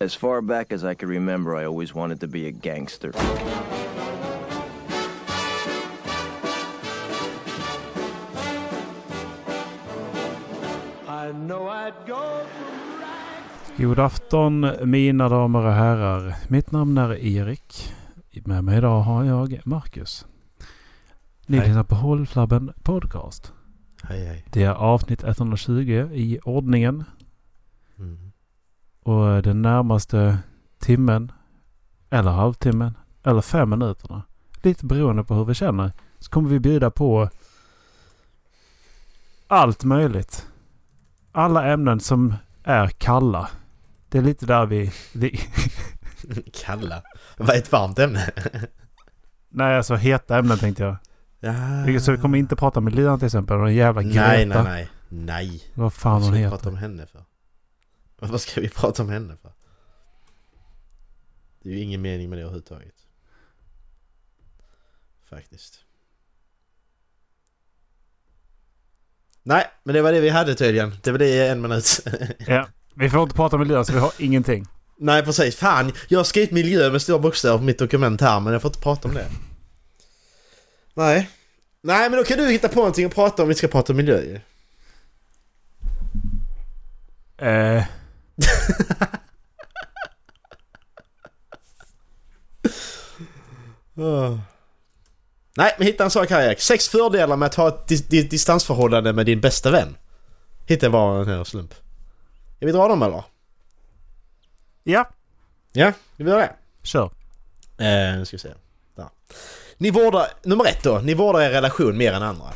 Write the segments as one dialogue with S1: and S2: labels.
S1: As far back as I could remember, I always wanted to be a gangster.
S2: I know I'd go from right
S3: God afton mina damer och herrar. Mitt namn är Erik. Med mig idag har jag Marcus. Ni
S4: Hej.
S3: lyssnar på Hållflabben Podcast.
S4: Hej hej.
S3: Det är avsnitt 120 i ordningen.
S4: Mm.
S3: Och den närmaste timmen, eller halvtimmen, eller fem minuterna. Lite beroende på hur vi känner. Så kommer vi bjuda på allt möjligt. Alla ämnen som är kalla. Det är lite där vi... vi
S4: Kalla. Vad är ett varmt ämne?
S3: nej, alltså heta ämnen tänkte jag.
S4: Ja.
S3: Så vi kommer inte prata miljön till exempel. Och den jävla Greta.
S4: Nej, nej, nej. Nej.
S3: Vad fan
S4: Vad ska
S3: hon
S4: vi
S3: heter.
S4: prata om henne för? Vad ska vi prata om henne för? Det är ju ingen mening med det överhuvudtaget. Faktiskt. Nej, men det var det vi hade tydligen. Det var det i en minut.
S3: Ja. Vi får inte prata miljö så vi har ingenting.
S4: Nej, precis. Fan, jag har skrivit miljö med stora bokstäver på mitt dokument här, men jag får inte prata om det. Nej. Nej, men då kan du hitta på någonting att prata om. Vi ska prata om miljö ju.
S3: Eh,
S4: Åh. Ah. Nej, men hitta en sak här Erik. Sex fördelar med att ha ett dis- dis- distansförhållande med din bästa vän. Hitta bara en här slump. Ska vi dra dem eller?
S3: ja,
S4: Ja, vi gör det.
S3: kör.
S4: Eh, nu ska vi se. Där. Ni vårdar, nummer ett då, ni vårdar er relation mer än andra.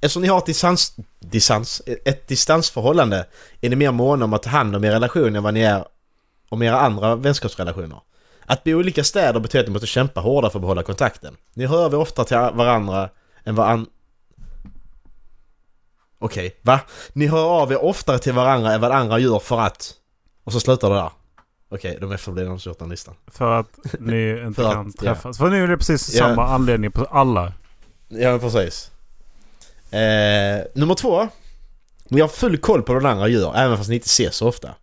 S4: Eftersom ni har ett, distans, distans, ett distansförhållande är ni mer måna om att ta hand om er relation än vad ni är om era andra vänskapsrelationer. Att bo i olika städer betyder att ni måste kämpa hårdare för att behålla kontakten. Ni hör av er ofta till varandra än vad an... Okej, va? Ni hör av er oftare till varandra än vad andra gör för att... Och så slutar det där. Okej, de efterblivna har inte gjort den listan.
S3: För att ni inte
S4: För att,
S3: kan
S4: ja.
S3: träffas. För nu är det precis
S4: Ja.
S3: samma anledning på alla.
S4: Ja, men precis. Eh, nummer två. Ni har full koll på vad den andra gör, även fast ni inte ses så ofta.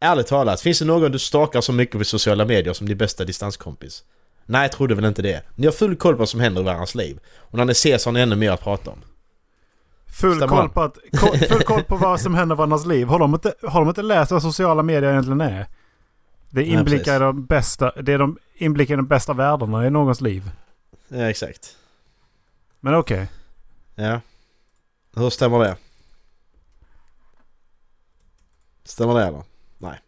S4: Ärligt talat, finns det någon du stakar så mycket på sociala medier som din bästa distanskompis? Nej, jag trodde väl inte det. Ni har full koll på vad som händer i varandras liv. Och när ni ses har ni ännu mer att prata om.
S3: Full
S4: Stämmer
S3: koll,
S4: han?
S3: på att, ko- full koll på vad som händer i varandras liv. Har de, inte, har de inte läst vad sociala medier egentligen är? Det är
S4: Nej,
S3: inblickar i
S4: precis.
S3: de bästa, det är de inblickar i de bästa världarna i någons liv.
S4: Ja, exakt.
S3: Men okej.
S4: Ja. Hur stämmer det? Stämmer det eller? Nej.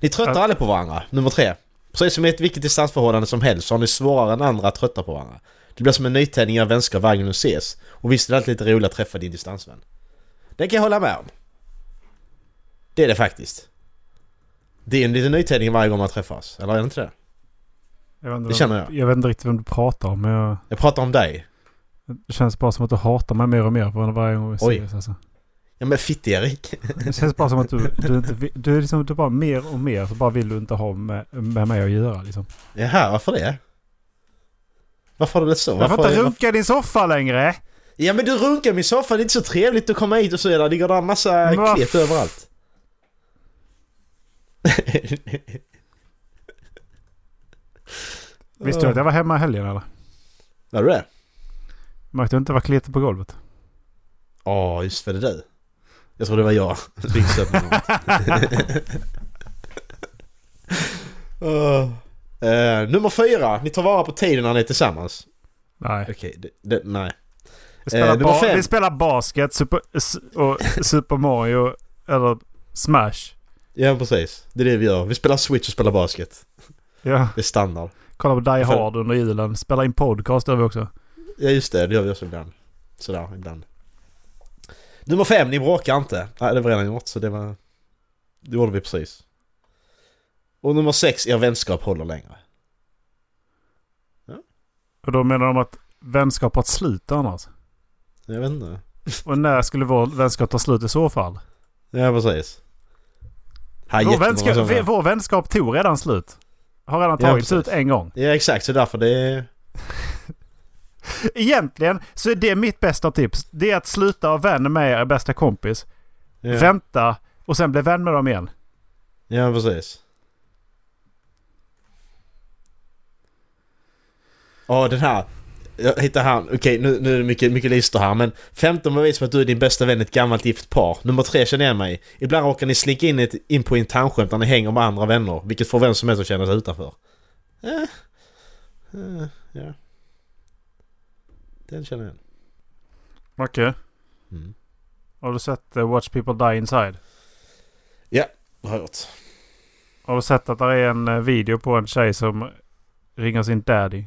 S4: Ni tröttar
S3: Ja.
S4: aldrig på varandra, nummer tre. Precis som i ett vilket distansförhållande som helst så har ni svårare än andra att trötta på varandra. Det blir som en nytändning av vänskap varje gång ni ses. Och visst är det alltid lite roligt att träffa din distansvän. Det kan jag hålla med om. Det är det faktiskt. Det är en liten nytändning varje gång man träffas, eller är det inte det?
S3: Jag vet inte
S4: Det
S3: vem-
S4: känner jag.
S3: Jag vet inte riktigt vem du pratar om. Men jag,
S4: Jag pratar om dig.
S3: det känns bara som att du hatar mig mer och mer för varje gång vi
S4: Oj.
S3: ses. Alltså.
S4: Ja men fitt Erik.
S3: Det känns bara som att du, du, inte, vi- du är liksom du bara mer och mer så bara vill du inte ha med, med mig att göra liksom.
S4: Jaha, varför det? Varför har du det så?
S3: Jag får
S4: Varför-
S3: inte runka i din soffa längre!
S4: Ja men du runkar i min soffa, det är inte så trevligt att komma hit och så är det, ligger där en massa
S3: Men vad
S4: klipp
S3: f-
S4: överallt.
S3: Visste du att jag var hemma i helgen eller?
S4: Var du det?
S3: Märkte du inte vad kletigt på golvet?
S4: Ja, just det, det är du. Jag tror det var jag. Ringde upp honom. Åh. Eh, nummer fyra, ni tar vara på tiden när ni är tillsammans.
S3: Nej.
S4: Okej, det, det, nej.
S3: Vi spelar,
S4: Eh, nummer
S3: ba-
S4: fem.
S3: vi spelar basket super, s- och Super Mario eller Smash.
S4: Ja precis, det är det vi gör. Vi spelar switch och spelar basket.
S3: Ja,
S4: Det är standard.
S3: kolla på Die
S4: För-
S3: Hard under julen. Spela in podcast gör vi också.
S4: Ja just det, det gör vi också ibland. Sådär, ibland. Nummer fem, ni bråkar inte. Nej, det var redan gjort så det var... Det gjorde vi precis. Och nummer sex, er vänskap håller längre.
S3: Och då menar de att vänskap har ett slut annars.
S4: Jag vet inte.
S3: Och när skulle vår vänskap ta slut i så fall?
S4: Ja, precis. Här är
S3: Vår
S4: jättemånga
S3: vänskap,
S4: sådana.
S3: vi- vår vänskap tog redan slut. Har redan
S4: Ja,
S3: tagit slut
S4: precis.
S3: en gång.
S4: Ja, exakt. Så därför det är...
S3: Egentligen så är det mitt bästa tips. Det är att sluta vara vän med er bästa kompis.
S4: Ja,
S3: Vänta och sen bli vän med dem igen.
S4: ja precis. Åh, den här. Jag hittar han. Okej, nu, nu är det mycket, mycket listor här. Men 15 bevis på att du är din bästa vän i ett gammalt gift par. Nummer tre känner jag mig. Ibland råkar ni slinka in, i ett, in på internskämt när ni hänger med andra vänner. Vilket får vem som helst att känna sig utanför. Eh. Eh, ja. Den känner jag igen.
S3: Macke,
S4: Mm.
S3: har du sett eh, Watch People Die Inside?
S4: Har jag gjort.
S3: Har du sett att det är en eh, video på en tjej som ringer sin daddy?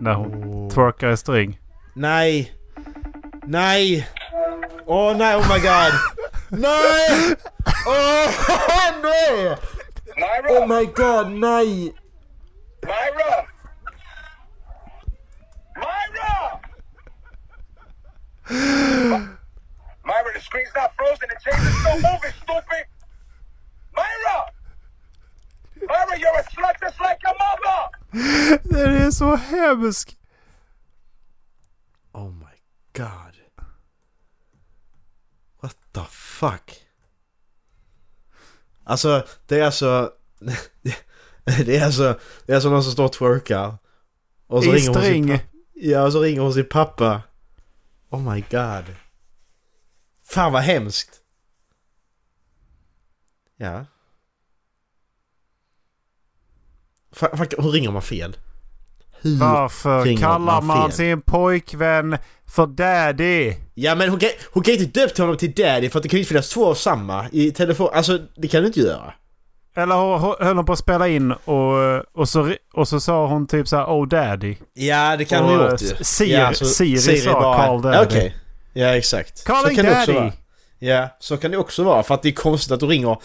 S3: När hon twerkar i string.
S4: Nej! Nej! Åh nej, oh my god! nej! Åh nej!
S5: Myra!
S4: Oh my god, nej!
S5: Myra! Myra! Myra, the screen's not frozen. The change is still moving, stupid! Myra! Myra, you're a slut just like your mother!
S3: Den är så hemsk!
S4: Oh my god. What the fuck? Alltså, det är alltså... det är alltså, det är alltså någon som står och twerkar. Och
S3: I
S4: ringer hon sin
S3: string.
S4: pa- Ja, och så ringer hon sin pappa. Oh my god. Fan vad hemskt. Ja. Fa- fa- hur ringer man fel? Hur
S3: Varför
S4: ringer
S3: kallar man
S4: fel?
S3: sin pojkvän för daddy?
S4: Ja men hon kan, hon kan inte döpt honom till daddy för att det kan ju inte finnas två av samma i telefon. Alltså det kan du inte göra.
S3: Eller hon- höll hon på att spela in och, och, så, och så sa hon typ så här Oh daddy.
S4: Ja det kan
S3: Och,
S4: hon ju
S3: eh,
S4: gjort ju.
S3: Siri-
S4: ja, så-
S3: Siri sa Carl
S4: Ja,
S3: daddy.
S4: Okej. Ja exakt. Så
S3: Calling
S4: kan det också
S3: daddy!
S4: vara. Ja, så kan det också vara. För att det är konstigt att du ringer...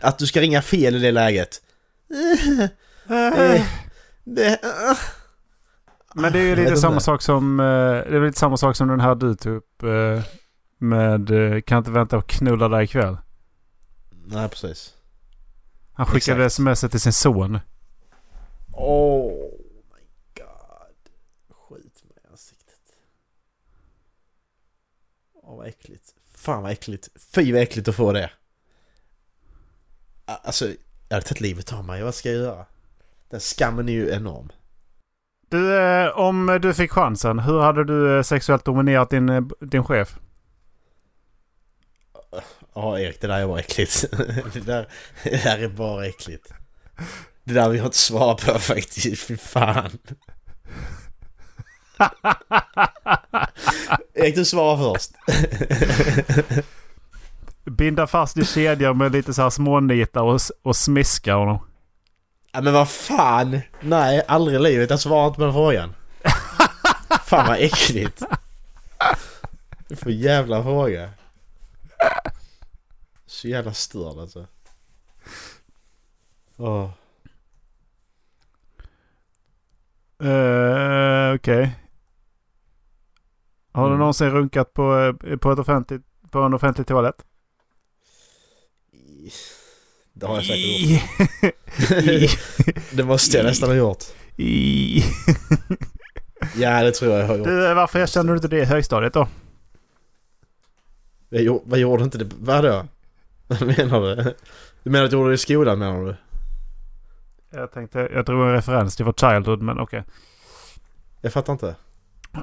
S4: Att du ska ringa fel i det läget.
S3: Eh,
S4: Det,
S3: Men det är ju
S4: vet
S3: lite
S4: inte.
S3: samma sak som eh, Det är väl lite samma sak som den här du tog upp. eh, Med eh, kan inte vänta och knulla dig ikväll.
S4: Nej precis.
S3: Han skickade
S4: Exakt.
S3: sms till sin son.
S4: Oh my god. Skjut mig i ansiktet. Åh vad äckligt. Fan vad äckligt. Fy vad äckligt att få det. A- Alltså, jag hade tagit livet av mig. Vad ska jag göra? Den skammen är ju enorm.
S3: Du, eh, om du fick chansen, hur hade du eh, sexuellt dominerat din, eh, din chef?
S4: Ja Erik, det där är bara äckligt. det, där, det där är bara äckligt. Det där vill jag inte svara på faktiskt. Fy fan. Erik, du svarar först.
S3: Binda fast i kedjor med lite så här smånitar och, s- och smiska honom.
S4: Ja men vad fan! Nej, aldrig i livet. Jag svarar inte på den frågan. fan vad äckligt. Du får jävla fråga. Så jävla störd alltså. Åh.
S3: Uh, Okej. Har du
S4: Mm.
S3: någonsin runkat på, eh, på, ett offentligt, på en offentlig toalett?
S4: Det har jag säkert gjort. det måste jag nästan ha gjort.
S3: I-
S4: Ja, det tror jag jag har gjort.
S3: du, eh, varför erkände du inte det i högstadiet då?
S4: Jag gjorde, vad gjorde inte det? Vadå? Vad menar du? Du menar att jag gjorde det i skolan menar du?
S3: Jag tänkte, jag drog en referens till vår Childhood, men okej.
S4: Jag fattar inte.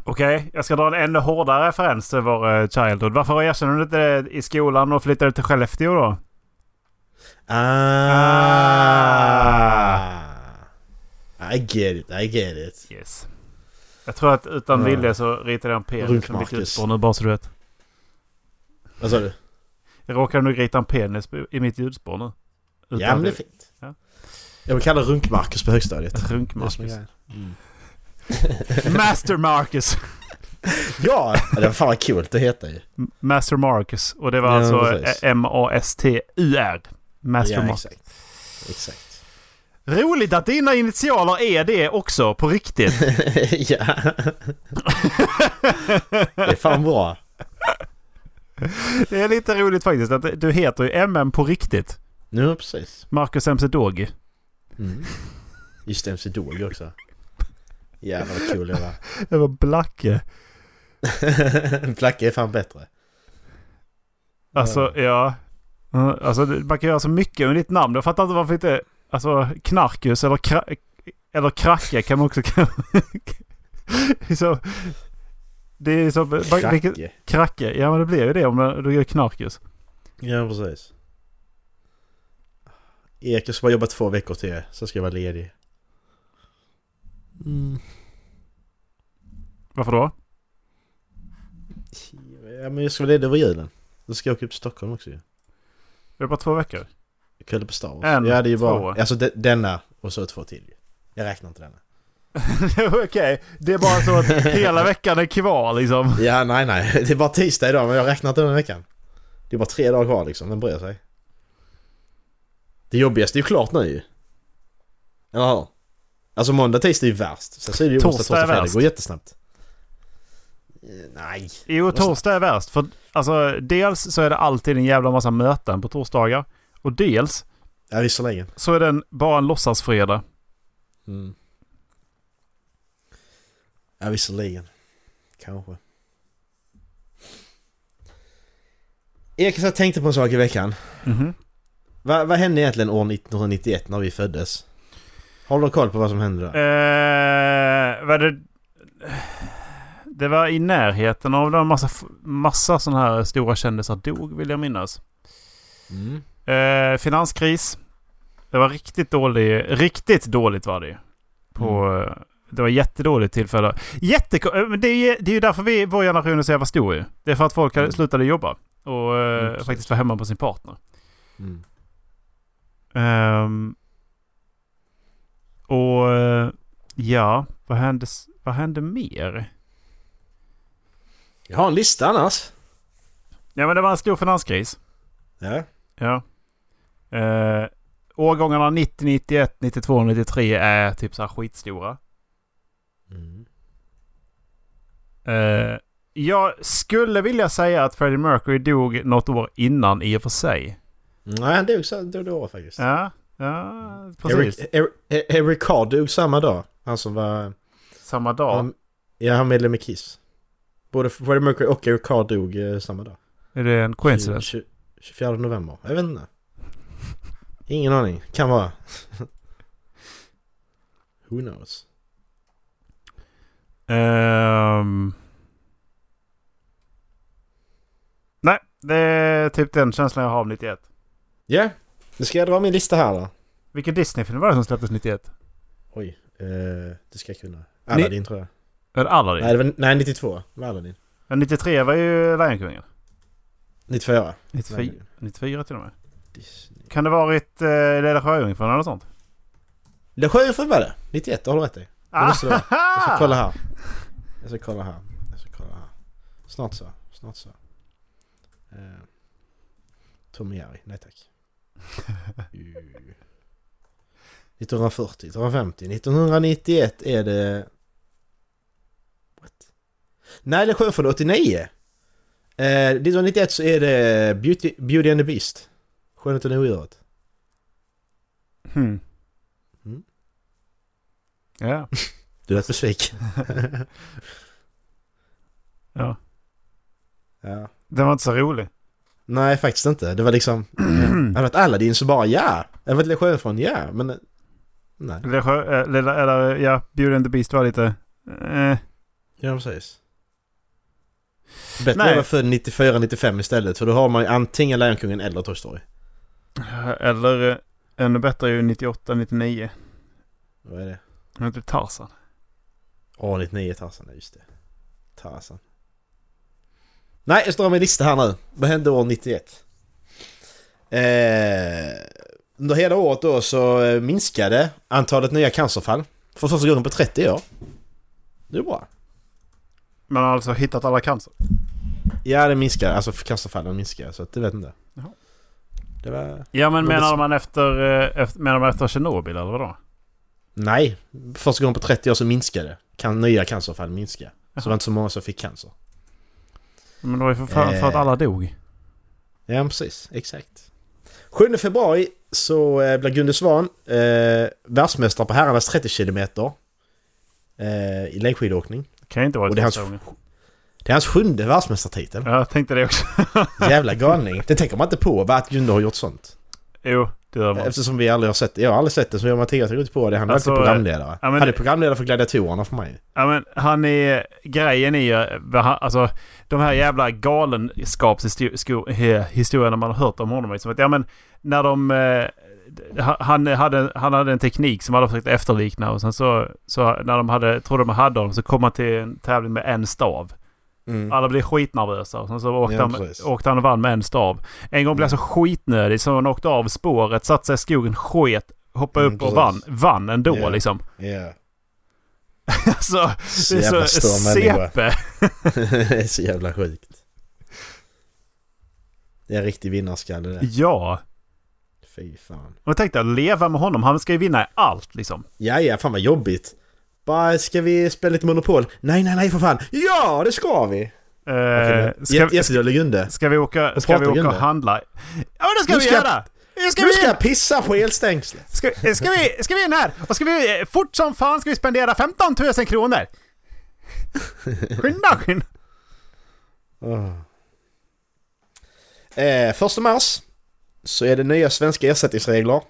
S3: Okej, jag ska dra en ännu hårdare referens till vår eh, Childhood. Varför erkände du inte det i skolan och flyttade till Skellefteå då?
S4: Ah. I get it, I get it.
S3: Yes. Jag tror att utan
S4: Ja.
S3: vilja så ritade jag en penis
S4: Runk
S3: på mitt
S4: Marcus.
S3: ljusspår nu bara så du vet.
S4: Vad sa du?
S3: Jag råkade nog rita en penis i mitt ljudspår nu.
S4: Ja, men det är
S3: att-
S4: fint.
S3: Ja.
S4: Jag vill kalla Runk-Marcus på högstadiet.
S3: Runk
S4: Det är som är
S3: Marcus.
S4: grejen.
S3: Master Marcus!
S4: Ja! ja, det var fan vad coolt det heter ju.
S3: M- Master Marcus. Och det var
S4: Ja,
S3: alltså
S4: precis.
S3: eh, M-A-S-T-U-R. Master
S4: ja,
S3: Marcus.
S4: exakt. Exakt.
S3: Roligt att dina initialer är det också, på riktigt.
S4: ja. det är fan bra.
S3: det är lite roligt faktiskt att du heter ju MM på riktigt.
S4: Nu precis.
S3: Marcus MC Dogi.
S4: Mm. Just det, MC Dog också. Jävlar vad kul det var.
S3: Det var Blacke.
S4: Placka är fan
S3: Eh,
S4: bättre.
S3: Alltså, ja. Mm, Alltså, det- man kan göra så mycket med ditt namn. Jag fattar inte varför inte... Alltså, Knarkus eller... Kra- Eller kracka kan man också kalla det. så, Det är som... vilket-
S4: Kracke.
S3: Kracke. Ja men det blir ju det om du gör knarkis.
S4: Ja, precis. Erik, jag ska bara jobba två veckor till. Sen ska jag vara ledig.
S3: Varför då?
S4: Ja, men jag ska vara ledig över julen. Då ska jag åka upp till Stockholm också ju.
S3: Det är bara två veckor.
S4: Jag kollade på Star Wars.
S3: En,
S4: ja, det är ju bara...
S3: två.
S4: Alltså de, denna och så två till ju. Jag räknar inte denna.
S3: Okej, det är bara så att hela veckan är kvar liksom.
S4: Ja, nej, nej. Det är bara tisdag idag, men jag räknar inte den veckan. Det är bara tre dagar kvar liksom. Vem bryr sig? Det jobbigaste är ju klart nu ju. Eller hur? Alltså måndag, tisdag är ju värst. Sen så är det ju onsdag,
S3: Torsdag
S4: torsdag,
S3: är
S4: fredag. Det
S3: värst.
S4: går jättesnabbt. Eh, Nej.
S3: Jo, torsdag är värst. För alltså, dels så är det alltid en jävla massa möten på torsdagar. Och dels
S4: Ja, visserligen.
S3: så är den bara en låtsasfredag.
S4: Mm. Ja, visserligen. Kanske. Erik, jag tänkte på en sak i veckan.
S3: Mhm.
S4: Va, vad hände egentligen år 1991 när vi föddes? Har du koll på vad som hände då?
S3: Eh, vad det... Det var i närheten av en massa, f- massa sådana här stora kändisar dog vill jag minnas.
S4: Mm.
S3: Eh, finanskris. Det var riktigt dålig, riktigt dåligt var det ju. På,
S4: Mm.
S3: eh, Det var jättedåligt tillfälle. Jätte, eh, men det, är, ju- det är ju därför vi, vår generation är så jävla stor ju. Det är för att folk hade- slutade jobba. Och eh,
S4: Mm, precis.
S3: faktiskt var hemma på sin partner.
S4: Mm.
S3: Ehm, och eh, ja, vad hände, s- vad hände mer?
S4: Jag har en lista annars.
S3: Ja men det var en stor finanskris.
S4: Ja.
S3: Ja. Eh, årgångarna 90, 91, 92, 93 är typ så här skitstora.
S4: Mm.
S3: Eh, jag skulle vilja säga att Freddie Mercury dog något år innan i och för sig.
S4: Nej, han dog så då då faktiskt.
S3: Ja, ja precis.
S4: Eric, Eric, Eric Carr dog samma dag. Han som var...
S3: Samma dag.
S4: Han, ja, han medlem i Kiss. Både Freddie Mercury och Eric Carr dog eh, samma dag.
S3: är det en coincidence?
S4: 20, 24 november. Jag vet inte. Ingen aning. Kan vara. Who knows?
S3: Ehm. nej, det är typ den känslan jag har av 91.
S4: Ja, nu ska jag dra min lista här då.
S3: Vilken Disney-film var det som släpptes 91?
S4: Oj, eh, det ska jag kunna. Aladdin tror jag.
S3: Är det Aladdin?
S4: Nej, det var, nej 92. Det var Aladdin.
S3: Ja, 93 var ju Lejonkungen.
S4: 94.
S3: 94,
S4: Lejonkungen.
S3: 94 till och med.
S4: Disney.
S3: Kan det varit eh, Lilla Sjöjungfrun eller något sånt?
S4: Det Sjöjungfrun var det. 91, det har du rätt i. Det måste det vara. Jag ska kolla här. Jag ska kolla här. Jag ska kolla här. Snart så. Snart så. Eh, Tom och Jerry. Nej tack. Uh. 1940, 1950, 1991 är det... What? Nej, det är Sjöfågel 89! Eh, 1991 så är det Beauty, Beauty and the Beast. Skönheten och odjuret.
S3: Hmm.
S4: Mm.
S3: Ja.
S4: Du lät besviken.
S3: ja.
S4: ja.
S3: Den var inte så rolig.
S4: Nej, faktiskt inte. Det var liksom... Hade det varit Aladdin så bara ja. Hade det varit Lilla Sjöjungfrun ja. Men... eh, Nej.
S3: Lilla, sjö, eh, lilla eller ja, Beauty and the Beast var lite... Eh,
S4: Ja, precis. Bättre
S3: Nej.
S4: att vara född 94-95 istället. För då har man ju antingen Lejonkungen eller Toy Story.
S3: eller eh, ännu bättre är ju 98, 99.
S4: Vad är det?
S3: Han heter Tarzan.
S4: Åh, 99 Tarzan. ja, Just det. Tarzan. Nej, jag står med lista här nu. Vad hände år 91? Eh, under hela året då så eh, minskade antalet nya cancerfall. För första gången på 30 år. Det är bra.
S3: Man har alltså hittat alla cancer.
S4: Ja, det minskar. Alltså cancerfallen minskar, så att det vet inte.
S3: Jaha.
S4: Det var...
S3: Ja men
S4: Men det-
S3: menar man efter, eh, efter, menar man efter Tjernobyl eller vadå?
S4: Nej, första gången på 30 år så minskade kan nya cancerfall minska. Så det var inte så många som fick cancer.
S3: Men det var ju för, fan för att
S4: Eh.
S3: alla dog.
S4: Ja, precis. Exakt. 7 februari så eh, blir Gunde Svan eh, världsmästare på herrarnas 30 km eh, i längdskidåkning.
S3: Det kan ju inte vara
S4: Och det är alltså
S3: varit
S4: hans,
S3: första gången.
S4: det är hans sjunde världsmästartitel.
S3: Ja, Jag tänkte det också.
S4: Jävla galning. Det tänker man inte på, va, att Gunde har gjort sånt.
S3: jo, det Det gör man.
S4: Eftersom vi aldrig har sett Jag har aldrig sett det, så jag och Mattias går inte på det. Han är
S3: Alltså,
S4: alltid programledare.
S3: ja, men-
S4: han är programledare för Gladiatorerna för mig.
S3: Ja, men han är... Grejen är ju... vad han- Alltså, de här jävla galenskapshistorierna man har hört om honom. Liksom. Att, ja, men när de... eh, ha- Han hade, han hade en teknik som alla försökte efterlikna och sen så, så när de hade, trodde de hade honom så kom han till en tävling med en stav. Alla blev skitnervösa och sen så åkte,
S4: Mm. Ja,
S3: han,
S4: precis. Mm.
S3: åkte han och vann med en stav. En gång blev han så skitnödig så han åkte av spåret, satte sig i skogen, sket, hoppade
S4: Mm,
S3: upp och vann.
S4: precis.
S3: Vann ändå
S4: Ja.
S3: liksom.
S4: Yeah.
S3: Alltså,
S4: Så
S3: det är
S4: jävla
S3: så
S4: stor människa.
S3: CP.
S4: det är så jävla sjukt. Det är en riktig vinnarskalle det.
S3: Ja.
S4: Fy fan.
S3: Och jag tänkte att leva med honom. Han ska ju vinna i allt liksom.
S4: Ja, ja, fan vad jobbigt. Bara, ska vi spela lite Monopol? Nej, nej, nej för fan. Ja, det ska vi!
S3: Eh,
S4: Ska...
S3: ska, vi-
S4: Jättedålig grunde.
S3: ska vi åka, ska vi
S4: pratar
S3: åka
S4: Gunnar.
S3: och handla? Ja, men det ska
S4: Nu
S3: vi
S4: ska-
S3: göra! Nu ska
S4: Nu
S3: vi
S4: ska
S3: in!
S4: jag pissa på elstängslet!
S3: Ska, eh, ska, vi, ska vi in här? Och ska vi, eh, fort som fan ska vi spendera 15 000 kronor! Skynda, skynda!
S4: Eh, första mars så är det nya svenska ersättningsregler.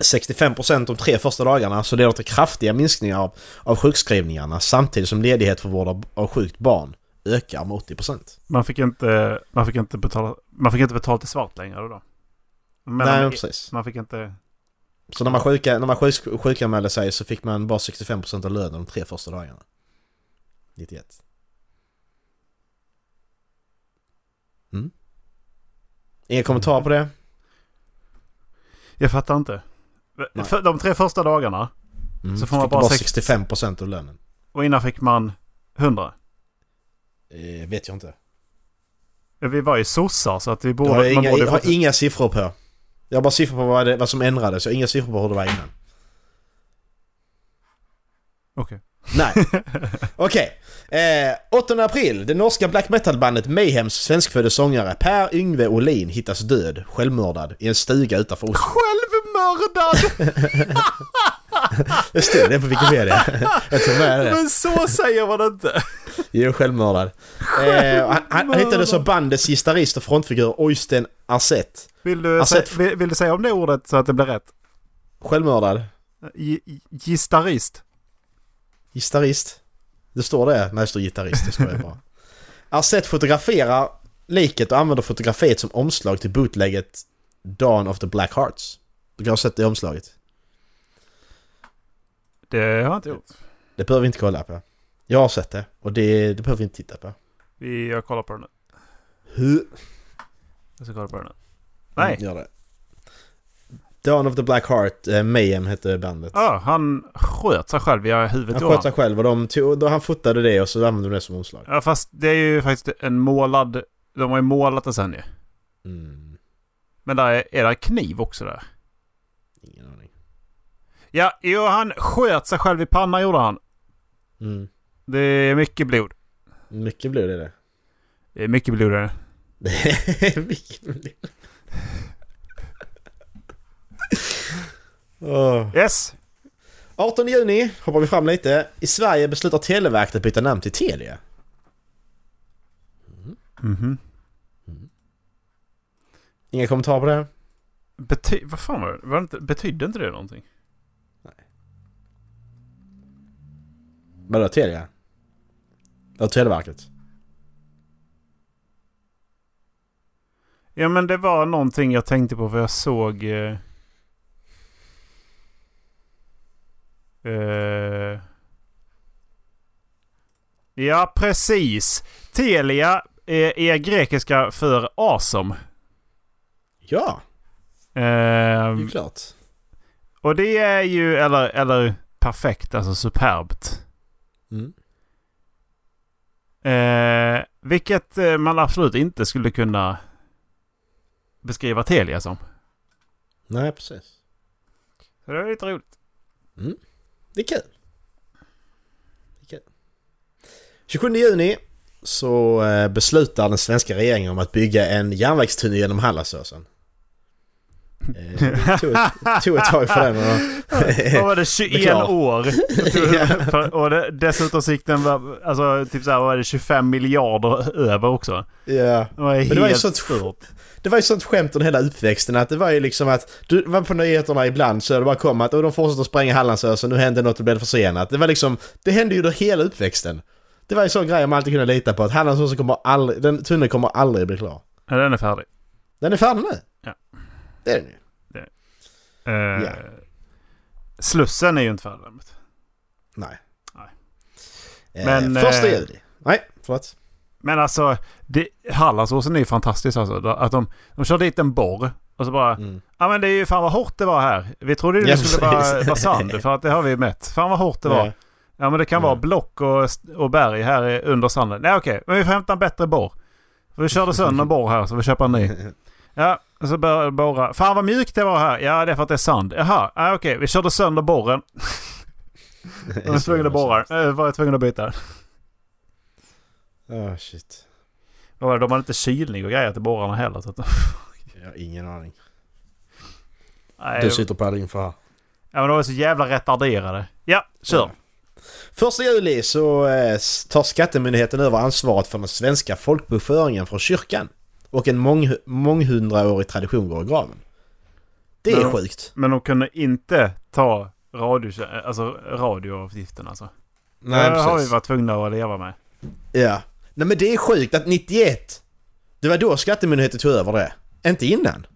S4: 65% de tre första dagarna så leder till kraftiga minskningar av, av sjukskrivningarna samtidigt som ledighet för vård av, av sjukt barn ökar med 80%.
S3: Man fick inte, man fick inte betala, man fick inte betalt i svart längre då. Men
S4: Nej,
S3: man,
S4: precis.
S3: man fick inte...
S4: Så när man, sjuka, när man sjuk, sjukanmälde sig så fick man bara 65% av lönen de tre första dagarna. 91. Mm. Inga kommentarer på det?
S3: Jag fattar inte.
S4: Nej.
S3: För de tre första dagarna,
S4: Mm.
S3: Så får man
S4: fick
S3: bara
S4: bara
S3: sex-
S4: 65% av lönen.
S3: och innan fick man 100.
S4: Eh, vet jag inte.
S3: Vi var ju sossar så att vi
S4: Jag
S3: borde...
S4: har,
S3: man
S4: inga,
S3: borde
S4: jag har
S3: faktiskt-
S4: inga siffror på. Jag har bara siffror på vad, det, vad som ändrades. Jag har inga siffror på hur det var innan.
S3: Okej.
S4: Nej. Okej. Eh, 8 april. Det norska black metal-bandet Mayhems svenskfödde sångare Per Yngve Olin hittas död, självmördad, i en stuga utanför Oslo.
S3: Självmördad!
S4: Det stod det på Wikipedia. Jag tog med det.
S3: Men så säger man inte.
S4: Jo, självmördad. Eh, han, han han hittades av bandets gitarrist och frontfigur Oysten Arset.
S3: Vill du,
S4: Alltså,
S3: sä-
S4: ett-
S3: vill, vill du säga om det ordet så att det blir rätt?
S4: Självmördad.
S3: Gi- gi- Gistarist.
S4: Gitarrist. Det står det. Nej, det står gitarrist. Det skojar jag bara. Arset fotograferar liket och använder fotografiet som omslag till bootlägget Dawn of the Black Hearts. Du kan ha sett det omslaget.
S3: Det har jag inte gjort.
S4: Det behöver vi inte kolla på. Jag har sett det och det, det behöver vi inte titta på.
S3: Vi, jag kollar på det nu.
S4: Hur?
S3: Jag ska kolla på det nu. Nej.
S4: Gör det. Dawn of the Black Heart, eh, Mayhem hette bandet.
S3: Ah, han sköt sig själv i huvudet.
S4: Han
S3: gjorde
S4: sköt sig själv och de tog, då han fotade det och så använde de det som omslag.
S3: Ja, fast det är ju faktiskt en målad... De har ju målat det sen ju.
S4: Mm,
S3: Men där är, är det kniv också där.
S4: ingen aning.
S3: Ja, jo, han sköt sig själv i pannan gjorde han.
S4: Mm,
S3: Det är mycket blod.
S4: mycket blod är det.
S3: Det är mycket blod där.
S4: mycket blod. Åh.
S3: Yes!
S4: 18 juni hoppar vi fram lite. I Sverige beslutar Televerket att byta namn till Telia.
S3: Mhm.
S4: Inga kommentarer på det?
S3: Bety- vad fan var det? Var det inte, betydde inte det någonting?
S4: Vadå Telia? Ja, Televerket.
S3: Ja men det var någonting jag tänkte på för jag såg... Eh, eh, ja precis! Telia är, är grekiska för awesome.
S4: Ja, det
S3: Eh,
S4: är klart.
S3: och det är ju, eller, eller perfekt, alltså superbt.
S4: Mm.
S3: Eh, vilket eh, man absolut inte skulle kunna beskriva Telia som.
S4: Nej, precis.
S3: Så det var lite roligt.
S4: Det är kul. Det är kul. 27 juni så eh, beslutar den svenska regeringen om att bygga en järnvägstunnel genom Hallandsåsen. Eh, det tog, ett- tog ett tag för den.
S3: Då
S4: och-
S3: var det 21
S4: Beklagar.
S3: år. För, och det, dessutom så gick den var, alltså, typ så här, vad var det, 25 miljarder över också.
S4: Ja.
S3: Det var helt
S4: det var ju sånt-
S3: stört.
S4: Det var ju sånt skämt under hela uppväxten att det var ju liksom att du var på nyheterna ibland så det bara kom att och de fortsätter spränga Hallandsåsen, nu hände något och blev försenat. Det var liksom, det hände ju under hela uppväxten. Det var ju sån grej man alltid kunde lita på att Hallandsåsen kommer aldrig, den tunneln kommer aldrig bli klar.
S3: Ja, den är färdig.
S4: Den är färdig nu.
S3: Ja.
S4: Det är den ju.
S3: Eh,
S4: Ja.
S3: Slussen är ju inte färdig. däremot.
S4: Nej.
S3: Nej. Men,
S4: Men... Eh, första
S3: eh,
S4: juli. Nej, förlåt.
S3: Men alltså, det, Hallandsåsen är ju fantastisk alltså. Då- Att de, de kör dit en borr och så bara... Ja men det är ju fan vad hårt det var här. Vi trodde ju det
S4: Mm. Ja,
S3: skulle vara,
S4: precis.
S3: vara sand för att det har vi mätt. Fan vad hårt det var.
S4: Ja.
S3: Ja men det kan vara block och, och berg här i- under sanden. Nej okej, men vi får hämta en bättre borr. För Vi körde sönder en borr här så vi köper en ny. Ja, och så började jag borra. Fan vad mjukt det var här. Ja det är för att det är sand. Jaha, ja, okej vi körde sönder borren. Jag var tvungen att borra. Jag var tvungen att byta.
S4: Åh Ah, shit.
S3: Vad var det? De hade inte kylning och grejer till borrarna heller. Så att,
S4: Jag har ingen aning.
S3: nej,
S4: Du sitter på all info här.
S3: ja, men de var så jävla retarderade. Ja, kör.
S4: Första juli så eh, tar Skattemyndigheten över ansvaret för den svenska folkbokföringen från kyrkan. Och en mång, månghundraårig tradition går i graven. Det är
S3: Men-
S4: sjukt.
S3: Men de kunde inte ta radio, alltså radioavgiften alltså.
S4: Nej,
S3: det har vi
S4: precis.
S3: varit tvungna att leva med.
S4: Ja. Nej men det är sjukt att 91, det var då Skattemyndigheten tog över det. Inte innan.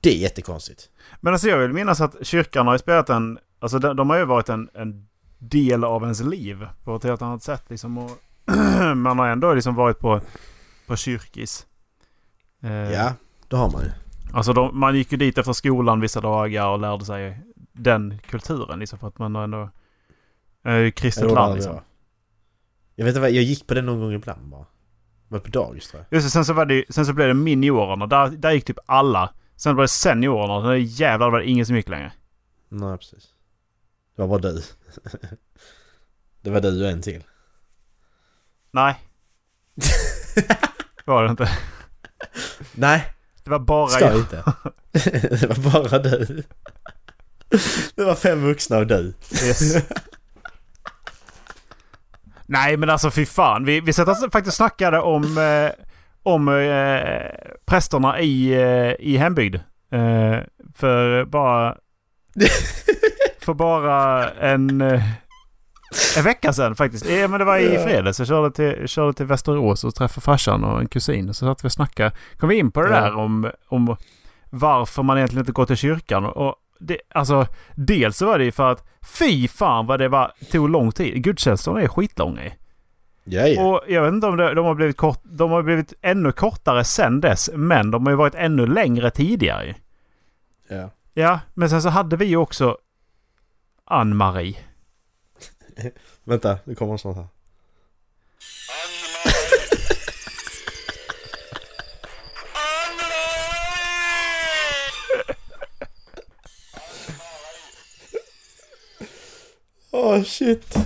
S4: Det är jättekonstigt.
S3: Men alltså jag vill minnas att kyrkan har ju spelat en... Alltså de, de har ju varit en, en del av ens liv på ett helt annat sätt liksom. Och man har ändå liksom varit på, på kyrkis. Eh,
S4: Ja, det har man ju.
S3: Alltså de, man gick ju dit efter skolan vissa dagar och lärde sig den kulturen liksom. För att man har ändå... är ju kristet land liksom.
S4: Jag. jag vet inte vad, jag gick på den någon gång ibland bara. Var på dagis tror jag.
S3: Just det, sen så, var det, ju- sen så blev det miniorerna. Där, där gick typ alla. Sen var det seniorerna. Sen jävlar var det ingen som gick längre.
S4: Nej, precis. Det var bara du. det var du och en till.
S3: Nej. var det inte.
S4: Nej,
S3: Det var bara
S4: ska jag inte. det var bara du. det var fem vuxna och du.
S3: Yes. Nej men alltså fy fan. Vi, vi satt alltså, faktiskt och snackade om, eh, om eh, prästerna i, eh, i hembygd. Eh, för bara... för bara en... Eh, en vecka sedan faktiskt. Eh, men det var i fredags. Jag körde till, körde till Västerås och träffade farsan och en kusin. Så satt vi och snackade. Kom vi in på det
S4: Ja.
S3: där om, om varför man egentligen inte går till kyrkan. Och det, alltså, dels så var det ju för att fy fan vad det var, tog lång tid. Gudstjänsterna är skitlånga ju.
S4: Ja, ja.
S3: Och jag vet inte om det, de, har blivit kort, de har blivit ännu kortare sen dess. Men de har ju varit ännu längre tidigare ju.
S4: ja.
S3: Ja, men sen så hade vi ju också Ann-Marie.
S4: Vänta, nu kommer sånt här. Åh oh, shit.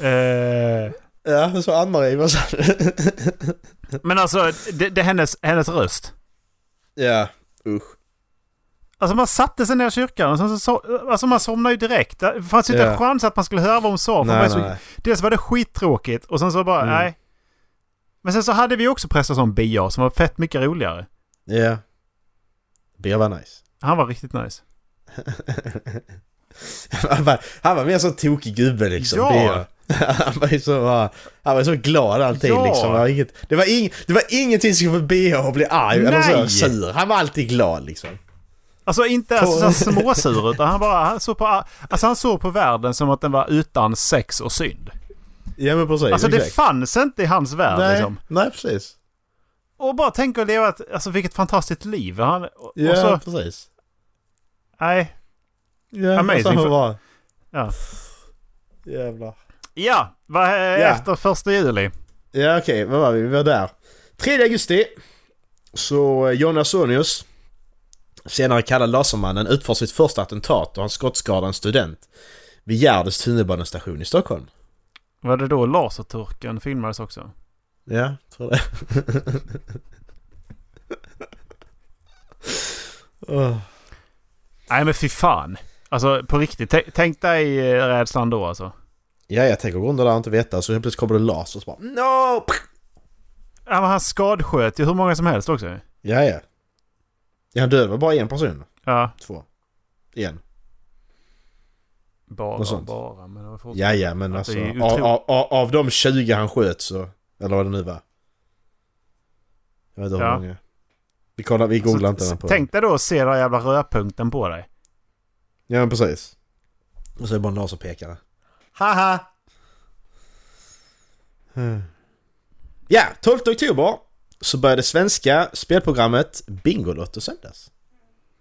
S3: Eh,
S4: Ja, så Ann-Marie, vad sa du?
S3: men alltså, det, det är hennes, hennes röst.
S4: Ja, usch.
S3: Alltså man satte sig ner i kyrkan och sen så, so- alltså man somnade ju direkt. Det fanns ju inte
S4: Ja.
S3: en chans att man skulle höra vad hon sa. För
S4: Nej,
S3: hon var så,
S4: nej, nej. Mm.
S3: Dels var det skittråkigt och sen så bara, nej. Men sen så hade vi också präster som Bia som var fett mycket roligare.
S4: Ja. Det var nice.
S3: Han var riktigt nice.
S4: Han var, han var mer sån tokig gubbe liksom.
S3: Ja.
S4: Ja. Han var ju så, bara- han var så glad alltid
S3: Ja.
S4: liksom. Det var, inget, det, var ing, det var ingenting som fick BH att bli arg eller
S3: Nej.
S4: så sur. Han var alltid glad liksom.
S3: Alltså inte ens så här småsur utan han bara, han såg på, alltså han såg på världen som att den var utan sex och synd.
S4: Ja men precis.
S3: Alltså det
S4: exakt.
S3: fanns inte i hans värld
S4: nej,
S3: liksom.
S4: nej precis.
S3: Och bara tänk att leva ett, alltså vilket fantastiskt liv. Han, och,
S4: Ja
S3: och så,
S4: precis.
S3: nej.
S4: Alltså, Ja,
S3: Amazing
S4: Så
S3: för-
S4: han var,
S3: Ja,
S4: jävlar.
S3: ja vad eh, efter första juli?
S4: Ja okej, vad var vi? Vi var där. 3 augusti. Så eh, Jonas Sonius, senare kallad Lasermannen, utför sitt första attentat och han skottskadar en student vid Gärdes tunnelbanestation i Stockholm.
S3: Var det då Laserturken filmades också?
S4: Ja, tror det. Åh,
S3: Nej men fy fan. Alltså på riktigt. Tänk- Tänk dig eh, rädslan då alltså.
S4: Ja, jag tänker gå runt där och inte veta. Så helt plötsligt kommer det laser och så bara no!
S3: Ja, men han skadsköt ju hur många som helst också.
S4: Ja, ja. Ja, han dödade bara en person.
S3: Ja.
S4: Två. En.
S3: Bara,
S4: Något sånt.
S3: bara. Men det var fortfarande-
S4: Ja, ja, men
S3: Att
S4: alltså.
S3: det är
S4: Av,
S3: ju otro-
S4: av, av, av de 20 han sköt så... Eller vad det nu var. Jag vet inte
S3: Ja.
S4: hur många. Vi kollar, vi googlar
S3: Så-
S4: inte den
S3: så
S4: på...
S3: Alltså, Tänk dig då att se den där jävla rödpunkten på dig.
S4: Ja, men precis. Och så är det bara en laserpekare. Haha! Hmm. Ja, 12 oktober så började det svenska spelprogrammet Bingolotto sändas.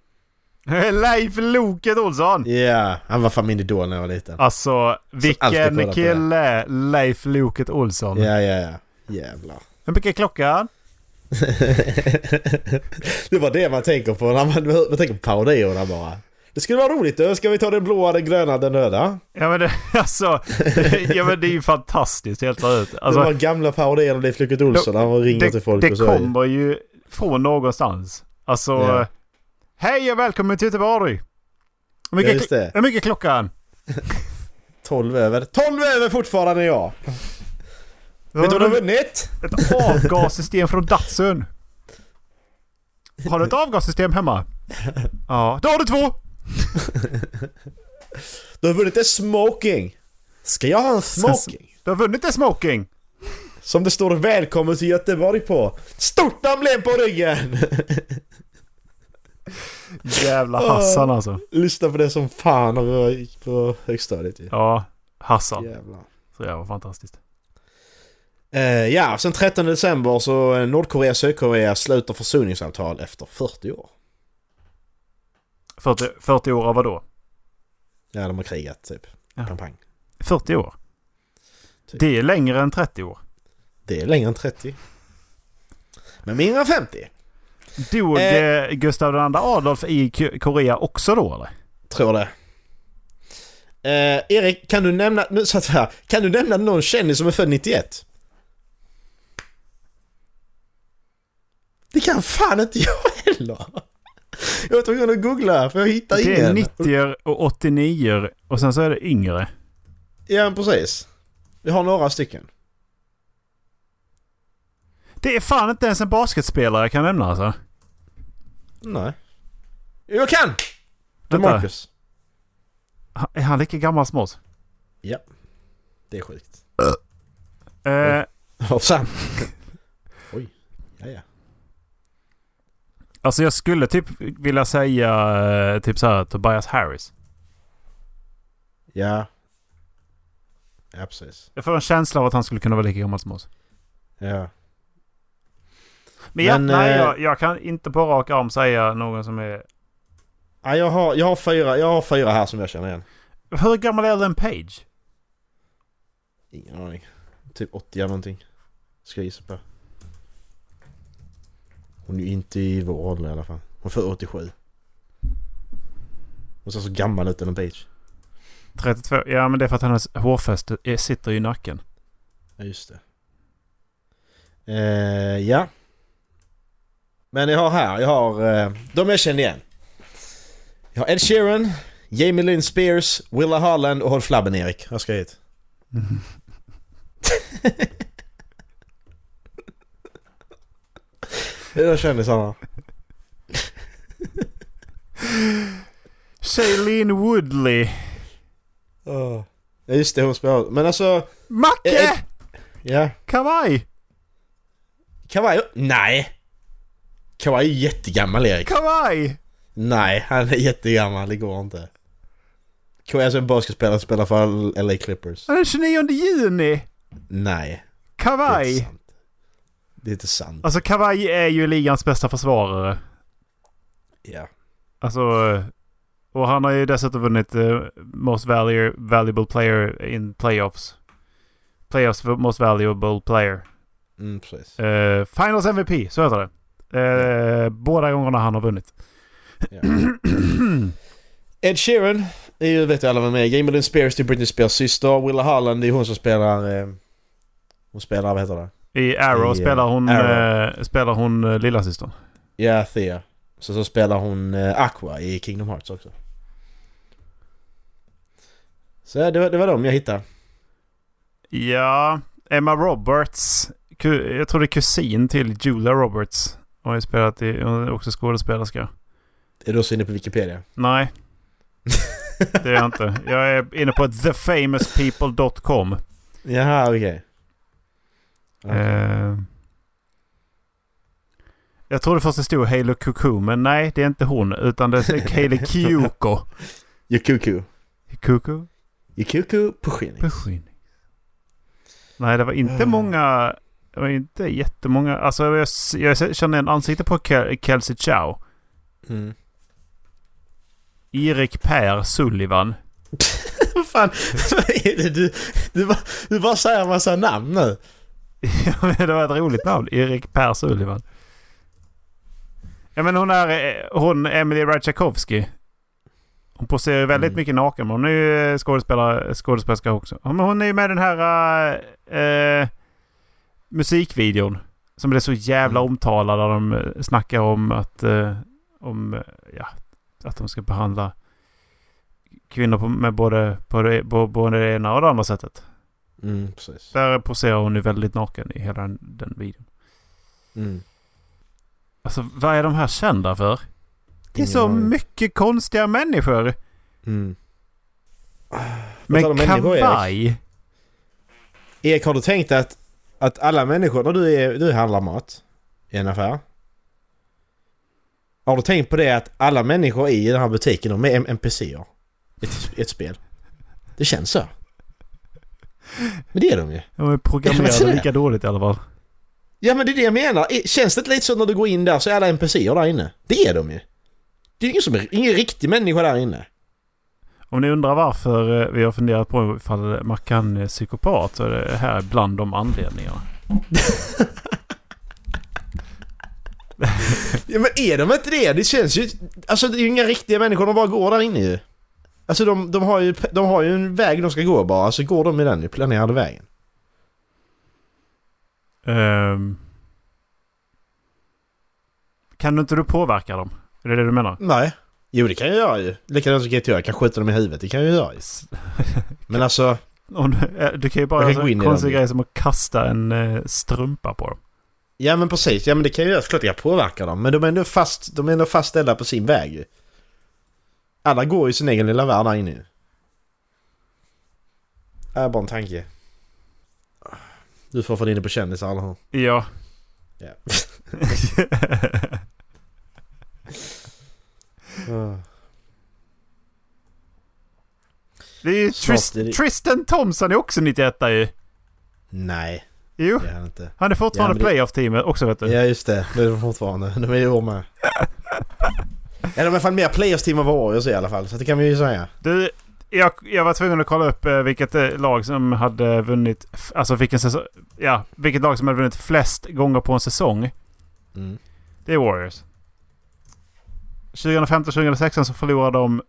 S3: Leif Loket Olsson!
S4: Ja, han var fan min idol när jag var liten.
S3: Alltså
S4: alltid kolla på
S3: vilken
S4: det.
S3: kille! Leif Loket Olsson.
S4: Ja, ja, ja. Jävlar.
S3: Hur mycket är klockan?
S4: det var det man tänker på när man, man tänker på parodierna bara. Det skulle vara roligt du. Ska vi ta den blåa, den gröna, den röda?
S3: Ja men det, alltså, det, ja, men det är ju fantastiskt helt ut.
S4: det
S3: Alltså,
S4: var gamla parodier av Leif Lycke Olsson när han ringer till folk
S3: det
S4: och så.
S3: kommer ju från någonstans. Alltså,
S4: Ja.
S3: hej och välkommen till Göteborg! Hur
S4: Ja,
S3: mycket,
S4: just det.
S3: hur mycket är klockan?
S4: 12 över. 12 över fortfarande jag! Vet du vad du har vunnit?
S3: Ett avgassystem från Datsun. Har du ett avgassystem hemma? Ja, då har du två!
S4: Du har vunnit en smoking! Ska jag ha en smoking?
S3: Du har vunnit en smoking!
S4: Som det står välkommen till Göteborg på. Stort emblem på ryggen!
S3: Jävla Hassan alltså.
S4: Lyssna på det som fan när jag gick på högstadiet ju.
S3: Ja, Hassan.
S4: Jävlar.
S3: Så jävla fantastiskt.
S4: Eh, ja, sen 13 december så eh, Nordkorea och Sydkorea sluter försoningsavtal efter 40 år.
S3: 40, 40 år av vadå?
S4: Ja, de har krigat typ.
S3: Ja.
S4: Pang, pang.
S3: 40 år?
S4: Typ.
S3: Det är längre än 30 år.
S4: Det är längre än 30. Men mindre än 50.
S3: Dog
S4: Eh.
S3: eh. Gustav II Adolf i K- Korea också då eller?
S4: Tror det. Eh, Erik, kan du nämna... Nu satt jag här. Kan du nämna någon kändis som är född 91? Det kan fan inte jag heller! Jag var tvungen att googla för jag hittar ingen.
S3: Det är 90 och 89 och sen så är det yngre.
S4: Ja, precis. Vi har några stycken.
S3: Det är fan inte ens en basketspelare jag kan nämna alltså.
S4: Nej. Jo, Jag kan! Det är
S3: Vänta.
S4: Marcus.
S3: Ha- Är han lika gammal som oss?
S4: Ja. Det är sjukt.
S3: Eh,
S4: Hoppsan. Oj. Ja, ja.
S3: alltså jag skulle typ vilja säga eh, typ så här Tobias Harris.
S4: Ja. Ja, precis.
S3: Jag får en känsla av att han skulle kunna vara lika gammal som oss.
S4: Ja.
S3: Men, ja,
S4: Men,
S3: nej,
S4: eh,
S3: jag, jag kan inte på rak arm säga någon som är...
S4: ja jag, har, jag, har fyra, jag har fyra här som jag känner igen.
S3: Hur gammal är Ellen Page?
S4: Ingen aning. Typ 80 eller någonting. Ska jag gissa på. Hon är ju inte i vår ålder i alla fall. Hon är född 87. Hon ser så gammal ut än en beach.
S3: 32? Ja, men det är för att hennes hårfäste är- sitter ju i nacken.
S4: Ja, just det. Eh, ja. Men jag har här, jag har eh, de jag känner igen. Jag har Ed Sheeran, Jamie Lynn Spears, Willa Harland och Håll Flabben Erik. Jag ska hit. Det är de kändisarna.
S3: Shailene Woodley.
S4: Oh. Ja just det, hon spelar. Men alltså, Eh, eh.
S3: Macke!
S4: ja.
S3: Kavaj!
S4: Kavaj? Nej! Kavaj är jättegammal Erik.
S3: Kavaj!
S4: Nej, han är jättegammal. Det går inte. alltså, KS är en basketspelare som spelar för LA Clippers.
S3: Den 29 juni!
S4: Nej, det är inte
S3: Kavaj!
S4: sant. Det är inte sant.
S3: Alltså Kavaj är ju ligans bästa försvarare.
S4: Ja.
S3: Alltså... eh, Och han har ju dessutom vunnit eh, Most value, Valuable Player in Playoffs. Playoffs för Most Valuable Player.
S4: Mm, precis.
S3: Eh, Finals MVP, så heter det. Eh, båda gångerna han har vunnit.
S4: Ja. Ed Sheeran är ju, vet ju alla vem är. Jamie Lynn Spears det är Britney Spears syster. Willa Harland det är hon som spelar... Eh, hon spelar, vad heter det?
S3: I Arrow
S4: I, eh,
S3: spelar hon,
S4: Arrow.
S3: eh, spelar hon eh, lillasystern.
S4: Ja, Thea. Så så spelar hon eh, Aqua i Kingdom Hearts också. Så det var, det var de jag hittade.
S3: Ja, Emma Roberts. Ku- Jag tror det är kusin till Julia Roberts. Hon har ju spelat i, hon är också skådespelerska.
S4: Är du också inne på Wikipedia?
S3: Nej. Det är jag inte. Jag är inne på thefamouspeople.com.
S4: Jaha, okej. Okej.
S3: Eh, jag trodde först det stod Halo Cuckoo, men nej det är inte hon. Utan det är Halo Kyoko.
S4: Yukuku.
S3: Cuckoo?
S4: Yukuku Pushinik.
S3: Beskyddning. Nej, det var inte
S4: Mm.
S3: många... Det var inte jättemånga... Alltså jag, jag känner en ansikte på Kel- Kelsey Chow.
S4: Mm.
S3: Erik Per Sullivan.
S4: Vad fan, vad är det du, du, bara, du bara säger en massa namn nu.
S3: det var ett roligt namn. Erik Per Sullivan. Ja men hon är... eh, Hon Emily Ratajkowski. Hon poserar ju väldigt
S4: Mm.
S3: mycket naken. men Hon är ju eh, skådespelare, skådespelerska också. Ja, men hon är ju med i den här... eh, eh, musikvideon. Som blev så jävla omtalad där de eh, snackar om att... Eh, om... eh, Ja, att de ska behandla kvinnor på, med både, på det, på, både det ena och det andra sättet.
S4: Mm, precis.
S3: Där poserar hon ju väldigt naken i hela den, den videon.
S4: Mm.
S3: Alltså vad är de här kända för? Det är så
S4: Ingen aning.
S3: mycket konstiga människor.
S4: Mm. tar
S3: Med
S4: de människor, Erik?
S3: kavaj.
S4: Erik, har du tänkt att, att alla människor, när du, är, du handlar mat i en affär. Har du tänkt på det att alla människor i den här butiken, de är M- NPCer. I Ett, i ett spel. Det känns så. Men det är de ju.
S3: De är programmerade lika dåligt i alla fall.
S4: Ja men det är det jag menar. I- Känns det inte lite så när du går in där så är alla NPCer där inne? Det är de ju. Det är ingen, som är, ingen riktig människa där inne.
S3: Om ni undrar varför eh, vi har funderat på ifall Mackan är psykopat så är det här bland de anledningarna.
S4: Ja men är de inte det? Det känns ju... Alltså det är ju inga riktiga människor, de bara går där inne ju. Alltså de, de, har ju, de har ju en väg de ska gå bara, alltså går de i den planerade vägen.
S3: Ehm. kan inte du påverka dem? Är det det du menar?
S4: Nej. Jo det kan jag göra ju. Likadant som GTA, jag kan skjuta dem i huvudet, det kan jag göra ju. Men alltså...
S3: Om du, eh, du kan ju bara
S4: Jag kan
S3: göra
S4: gå in
S3: sån
S4: i den
S3: konstig
S4: bilden.
S3: grej som att kasta en eh, strumpa på dem.
S4: Ja men precis, ja men det kan jag göra, såklart jag påverkar dem. Men de är ändå, fast, de är ändå fastställda på sin väg ju. Alla går ju sin egen lilla värld där inne ju. Det är bara en tanke. Du får få inne på kändisar eller hur?
S3: Ja.
S4: Ja.
S3: Det är ju
S4: Snart
S3: Trist,
S4: är det-
S3: Tristan Thompson är också 91 ju.
S4: Nej,
S3: Jo,
S4: det är han inte.
S3: han är fortfarande
S4: Ja, men det-
S3: playoff-teamet också vet du.
S4: Ja just det, det är de fortfarande. De är ju i år med. Ja de är fan mer players team of Warriors i alla fall, så det kan vi ju säga.
S3: Du, jag, jag var tvungen att kolla upp eh, vilket eh, lag som hade vunnit... f- Alltså vilken säsong... Ja, vilket lag som hade vunnit flest gånger på en säsong.
S4: Mm.
S3: Det är Warriors. 2015-2016 så förlorade de...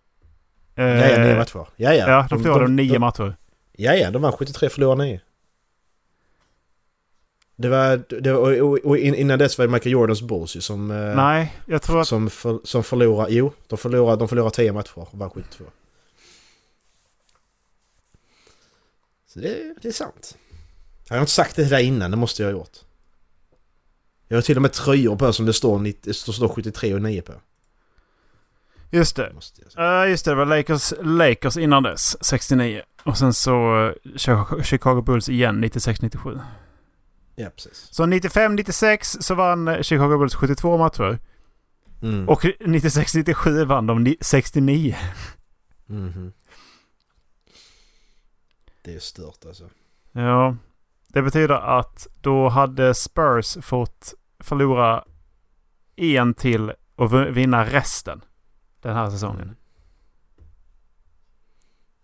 S3: Eh,
S4: Ja, ja, nio matcher. Ja, ja.
S3: Ja, de förlorade de, nio matcher.
S4: Ja, ja, de vann 73, förlorade 9. Det var, det var, och, och in- innan dess var det Michael Jordans Bulls ju som... eh,
S3: Nej, jag tror att...
S4: Som, för, som förlorade, jo, de förlorade, de förlorade 10 matcher och vann 72. Så det, det är sant. Jag har inte sagt det där innan, det måste jag ha gjort. Jag har till och med tröjor på som det står, 90 det står 73 och 9 på.
S3: Just det.
S4: Det måste jag säga.
S3: Uh, just det, det var Lakers, Lakers innan dess, 69. Och sen så eh, Chicago- Chicago Bulls igen, 96-97.
S4: Ja, precis.
S3: Så 95-96 så vann eh, Chicago Bulls 72 matcher.
S4: Mm.
S3: Och 96-97 vann de ni- 69.
S4: Mhm. Det är stört alltså.
S3: Ja, det betyder att då hade Spurs fått förlora en till och v- vinna resten den här säsongen.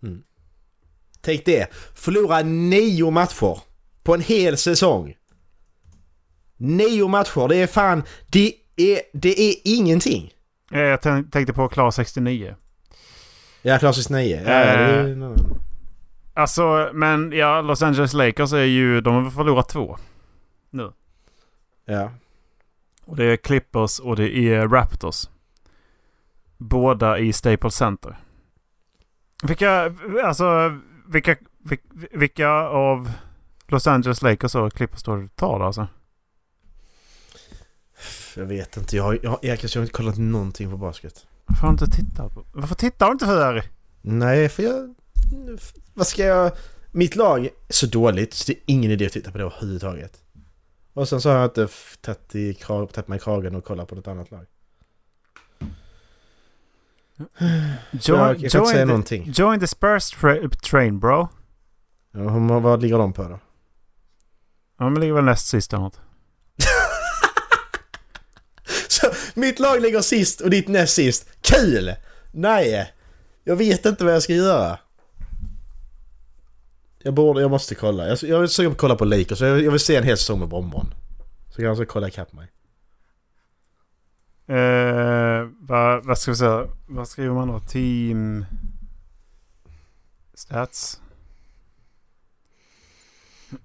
S4: Mm. Tänk det! Förlora nio matcher på en hel säsong. Nio matcher, det är fan... Det är, det är ingenting.
S3: Eh, Jag tän- tänkte på att klara 69.
S4: Ja, klassiskt nio. Ja, ja, det är, en annan.
S3: Alltså, men ja, Los Angeles Lakers är ju... De har förlorat två. Nu.
S4: ja.
S3: Och det är Clippers och det är Raptors. Båda i Staples Center. Vilka, alltså, vilka, vilka, vilka av Los Angeles Lakers och Clippers står du tar då alltså?
S4: Jag vet inte. Jag har, jag, har- Erik, jag har inte kollat någonting på basket.
S3: Varför har du inte tittat på? Varför tittar du inte för?
S4: Nej, för jag... Vad ska jag... Mitt lag är så dåligt så det är ingen idé att titta på det överhuvudtaget. Och sen så har jag inte f- tagit, i, kra- tagit mig i kragen och kollat på något annat lag.
S3: Jo,
S4: jag- jag kan inte säga någonting.
S3: Join the Spurs tra- train bro.
S4: Ja, hur må- vad ligger de på då?
S3: Ja, men ligger väl näst sist eller något.
S4: Så, mitt lag ligger sist och ditt näst sist. Kul! Nej! Jag vet inte vad jag ska göra. Jag borde, jag måste kolla. Jag, jag är sugen på att kolla på Lakers. Jag, jag vill se en hel säsong med Brommon. Så kanske jag kolla ikapp mig.
S3: Eh, vad, vad ska vi säga? Vad skriver man då? Team... Stats?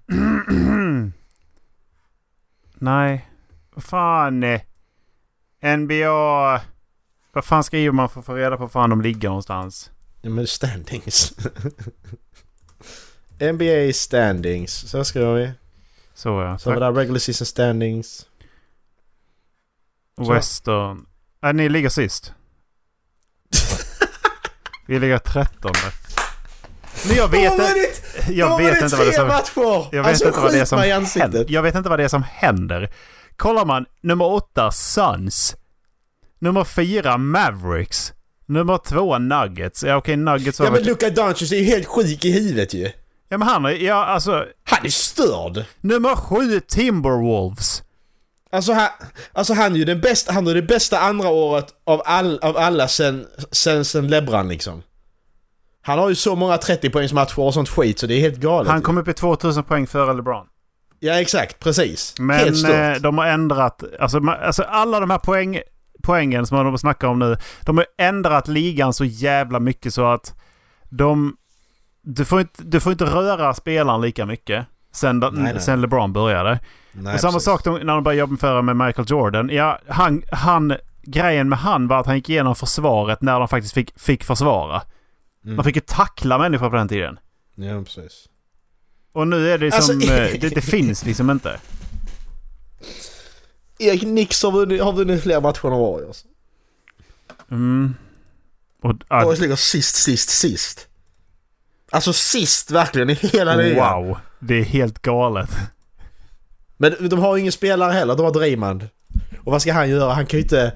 S3: Nej. Vad fan? eh, NBA... Vad fan skriver man för att få reda på var fan de ligger någonstans?
S4: Ja, men standings. NBA standings. Så här skriver vi.
S3: Så ja.
S4: Så har vi där regular season standings. så.
S3: Western. Äh, ni ligger sist. vi ligger trettonde. Men jag vet,
S4: De har
S3: inte-
S4: vunnit-
S3: jag
S4: de har
S3: vet
S4: vunnit
S3: inte vad det är
S4: tre
S3: som...
S4: matcher!
S3: Jag vet,
S4: alltså
S3: inte vad det är
S4: skjut
S3: som
S4: mig i ansiktet.
S3: händer. jag vet inte vad det är som händer. Kollar man nummer åtta Suns. Nummer fyra Mavericks. Nummer två Nuggets. Ja okej Nuggets var...
S4: Ja men Luka Doncic är ju helt sjuk i huvudet ju.
S3: ja, men han är... Ja alltså.
S4: Han är störd!
S3: Nummer sju Timberwolves.
S4: Alltså han, alltså han är ju den bästa, han är det bästa andra året av, all, av alla sen, sen, sen Lebron liksom. Han har ju så många 30-poängsmatcher och sånt skit så det är helt galet.
S3: Han kom upp i 2000 poäng före LeBron.
S4: Ja exakt, precis. helt
S3: Men
S4: stört.
S3: eh, de har ändrat, alltså, ma- alltså alla de här poäng, poängen som de snackar om nu, de har ändrat ligan så jävla mycket så att de, du får inte, du får inte röra spelaren lika mycket sen, de,
S4: Nej, nej.
S3: sen LeBron började.
S4: Nej,
S3: och samma
S4: precis.
S3: sak de, när de började jämföra med Michael Jordan. Ja, han, han, grejen med han var att han gick igenom försvaret när de faktiskt fick, fick försvara.
S4: Mm.
S3: Man fick ju tackla människor på den tiden.
S4: Ja precis.
S3: Och nu är det som,
S4: Alltså-
S3: eh, det, det finns liksom inte.
S4: Erik Nix har vunnit, har vunnit fler matcher än Warriors.
S3: Och, ah,
S4: Warriors ligger sist, sist, sist. Alltså sist verkligen i hela ligan.
S3: Wow, det är helt galet.
S4: Men de har ju ingen spelare heller, de har Draymond. Och vad ska han göra? Han kan ju inte...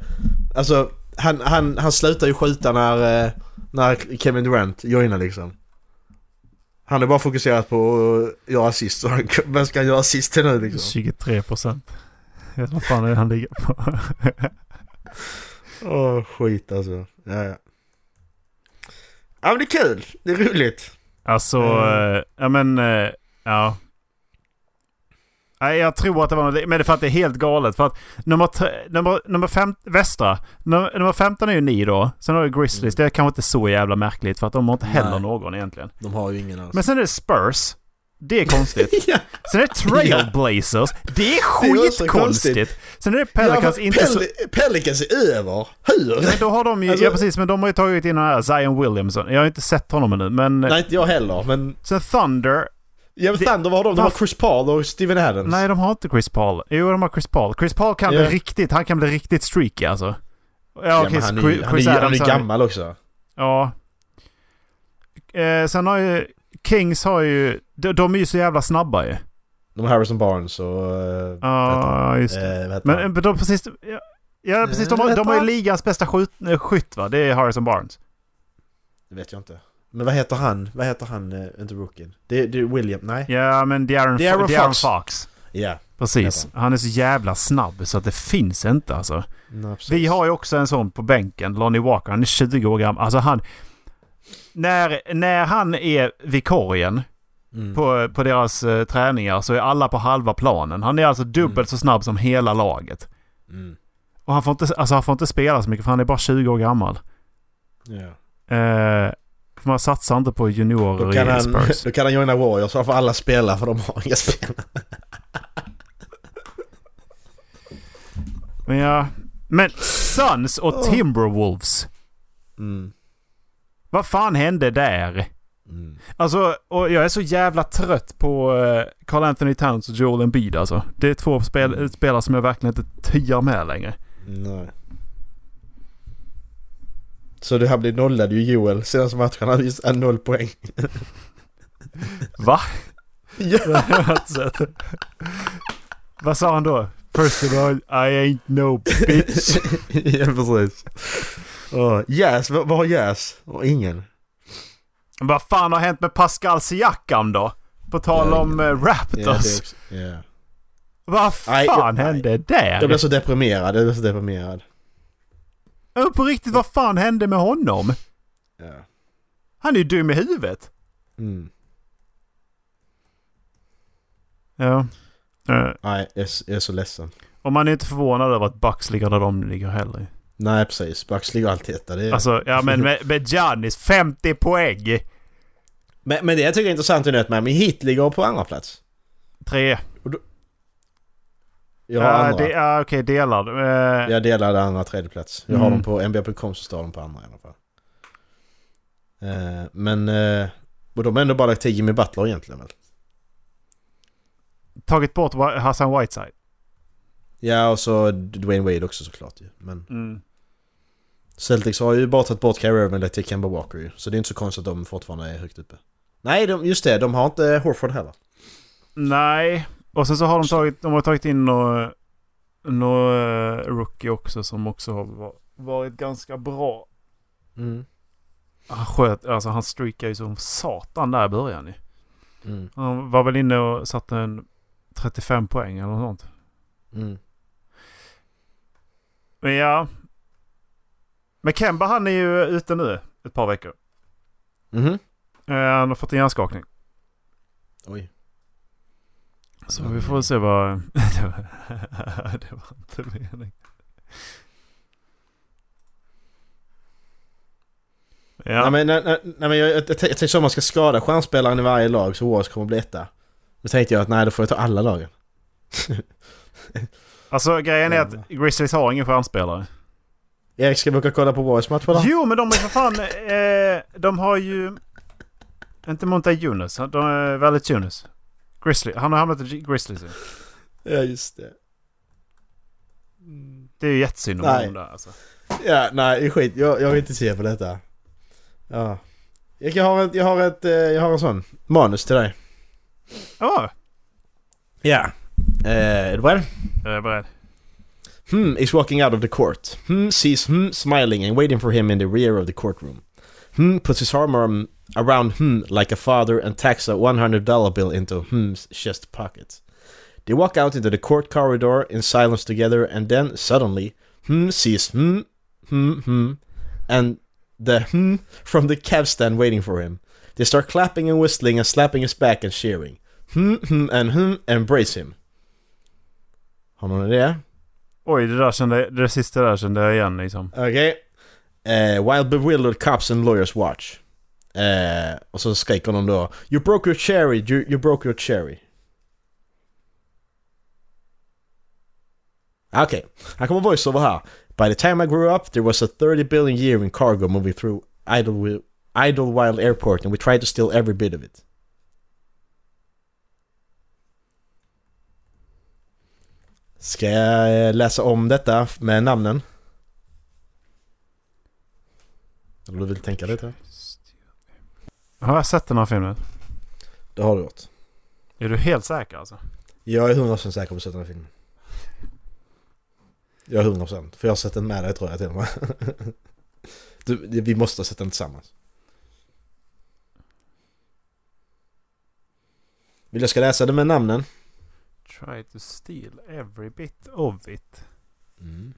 S4: Alltså, han, han, han slutar ju skjuta när, eh, när Kevin Durant joinar liksom. Han är bara fokuserad på att göra assist. Så han, vem ska han göra assist till nu liksom?
S3: 23 procent. Jag vet vad fan är det han ligger på.
S4: Åh, skit alltså. Ja, ja. Ja, men det är kul. Det är roligt.
S3: Alltså,
S4: Mm.
S3: eh, ja men, eh, ja. Nej, jag tror att det var något, men det är för att det är helt galet. För att nummer, tre, nummer, nummer fem, västra, nummer, nummer 15 är ju ni då. Sen har du Grizzlies, det är kanske inte så jävla märkligt för att de har inte heller
S4: Mm. Nej.
S3: någon egentligen.
S4: De har ju ingen alls.
S3: Men sen är det Spurs, det är konstigt.
S4: ja,
S3: Sen är det Trailblazers, det är
S4: Det är också
S3: skitkonstigt.
S4: konstigt.
S3: Sen är det
S4: ja,
S3: Pelicans, inte så...
S4: Pel- Pelicans är över. Hur?
S3: Men då har de ju,
S4: Alltså-
S3: ja precis, men de har ju tagit in den här Zion Williamson. Jag har inte sett honom ännu, men eh,
S4: Nej, inte jag heller. Men
S3: sen Thunder.
S4: Ja men
S3: Det-
S4: Thunder, vad har de? De har
S3: varför-
S4: Chris Paul och Steven Adams.
S3: Nej, de har inte Chris Paul. Jo, de har Chris Paul. Chris Paul kan
S4: Ja.
S3: bli riktigt, han kan bli riktigt streaky alltså. Ja,
S4: ja,
S3: okej,
S4: men han, är,
S3: Chris-
S4: ju- han, är,
S3: Chris
S4: ju- han är
S3: Adams
S4: ju
S3: har-
S4: gammal också.
S3: Ja. Eh, sen har ju, Kings har ju, de, de är ju så jävla snabba ju.
S4: De har Harrison Barnes och... eh,
S3: Ja, just det.
S4: eh, vad heter han?
S3: Men eh, de precis, ja, ja precis, de har, de har ju ligans bästa skjut, eh, skytt va? Det är Harrison Barnes.
S4: Det vet jag inte. Men vad heter han? Vad heter han, eh, inte rookien? Det, det är William? Nej? Ja.
S3: Ja, men Darren,
S4: De'Aaron
S3: Darren,
S4: Fox.
S3: Fox. Precis.
S4: Heter
S3: Han är så jävla snabb så att det finns inte alltså.
S4: Nej, precis.
S3: Vi har ju också en sån på bänken, Lonnie Walker. Han är 20 år gammal. Alltså han... När, när han är vikarien
S4: Mm.
S3: på, på deras eh, träningar så är alla på halva planen. Han är alltså
S4: Mm.
S3: dubbelt så snabb som hela laget. Och han får, inte, alltså han får inte spela så mycket för han är bara 20 år gammal.
S4: Ja.
S3: Eh, för man satsar inte på
S4: Då,
S3: juniorer
S4: kan
S3: i
S4: han,
S3: Spurs.
S4: då kan han joina Warriors, så får alla spela för de har inga spelare.
S3: Men ja... Men Suns och Timberwolves.
S4: Mm.
S3: Vad fan hände där?
S4: Mm.
S3: Alltså, och jag är så jävla trött på eh, Carl Anthony Towns och Joel Embiid alltså. Det är två
S4: Mm.
S3: spel, spelare som jag verkligen inte tyar med längre.
S4: Nej. Så det här blir nollad ju Joel senaste matchen. Han hade noll poäng.
S3: Va?
S4: Ja.
S3: Det har jag inte sett. Vad sa han då? First of all, I ain't no bitch.
S4: ja precis. Oh, yes, vad vad har Yes? Och ingen.
S3: Vad fan har hänt med Pascal Siakam då? På tal
S4: Ja,
S3: om eh,
S4: Ja, det
S3: Raptors.
S4: också- ja.
S3: Vad
S4: Nej,
S3: fan
S4: jag-
S3: hände där?
S4: Jag blev så deprimerad, jag blev så deprimerad.
S3: Ja, På riktigt, vad fan hände med honom?
S4: Ja.
S3: Han är ju dum i huvudet.
S4: Mm.
S3: Ja. Eh,
S4: Nej, jag är, s- jag är så ledsen.
S3: Och man är inte förvånad över att Bucks ligger där de ligger heller.
S4: Nej precis, Bucks ligger alltid etta. Det är...
S3: Alltså, ja men med, med Giannis 50 poäng.
S4: men, men det jag tycker är intressant är nu att Miami Heat ligger på andra plats.
S3: Tre.
S4: Jag har
S3: Ja,
S4: andra.
S3: det, ja okej, delad. Eh,
S4: Jag delade andra och tredje plats. Jag har
S3: Mm.
S4: dem på NBA.com så står de på andra i alla fall. Eh, men... Eh, och de har ändå bara lagt till Jimmy Butler egentligen väl?
S3: Tagit bort Wa- Hassan Whiteside.
S4: Ja och så Dwayne Wade också såklart ju. Men
S3: Mm.
S4: Celtics har ju bara tagit bort Kyrie Irving och lagt till Kemba Walker ju. Så det är inte så konstigt att de fortfarande är högt uppe. Nej, de, just det. De har inte Horford heller.
S3: Nej. Och sen så har de tagit, de har tagit in några nå, eh, rookie också som också har va- varit ganska bra.
S4: Mm.
S3: Han sköt, alltså han streakade ju som satan där i början ju.
S4: Mm.
S3: Han var väl inne och satte en 35 poäng eller något sånt.
S4: Mm.
S3: Men ja. Men Kemba han är ju ute nu ett par veckor.
S4: Mhm.
S3: Eh, Han har fått en hjärnskakning.
S4: Oj.
S3: Så vi får väl se vad... det, var... det var inte meningen. Ja.
S4: Nej, men, nej, nej, nej, men jag, jag, jag tänkte- jag tänkte så om man ska skada stjärnspelaren i varje lag så Warriors kommer bli etta. Men tänkte jag att nej, då får jag ta alla lagen.
S3: Alltså grejen är att Grizzlies har ingen stjärnspelare.
S4: Erik, ska vi åka och kolla på Warriors match eller?
S3: Jo men de är för fan... Eh, de har ju... Inte Monta Yunus. De är väldigt Yunus. Grizzly. Han har hamnat i G- Grizzlies. ju.
S4: Ja, just det.
S3: Det är ju jättesynd om
S4: Nej.
S3: honom där alltså.
S4: Ja, nej, skit. Jag, jag vill inte se på detta. Ja. Jag kan- jag har, ett, jag, har ett, eh, jag har en sån manus till dig.
S3: Ja,
S4: Ja. Eh, är du beredd?
S3: jag är beredd.
S4: Hmm is walking out of the court. Hmm sees Hmm smiling and waiting for him in the rear of the courtroom. Hmm puts his arm arm around Hmm like a father and tacks a $100 bill into Hm's chest pocket. They walk out into the court corridor in silence together and then suddenly Hmm sees Hmm, Hmm, Hmm and the Hmm from the cab stand waiting for him. They start clapping and whistling and slapping his back and cheering. Hmm, Hmm and Hmm embrace him. Har någon idé?
S3: Oj, det där kände, det sista där kände jag igen liksom.
S4: Okej. Eh, while bewildered cops and lawyers watch. Eh, och så skriker de då You broke your cherry, you, you broke your cherry. Okej, här kommer voiceover här. By the time I grew up there was a 30 billion year in cargo moving through Idlewi- Idlewild airport and we tried to steal every bit of it. Ska jag eh, läsa om detta med namnen? Eller du vill tänka lite?
S3: Har jag sett den här filmen?
S4: Det har du gjort.
S3: Är du helt säker alltså?
S4: Jag är 100% säker på att sett den här filmen. Jag är 100% för jag har sett den med dig tror jag till och med. Du, vi måste ha sett den tillsammans. Vill jag ska läsa den med namnen?
S3: Try to steal every bit of it.
S4: Mm.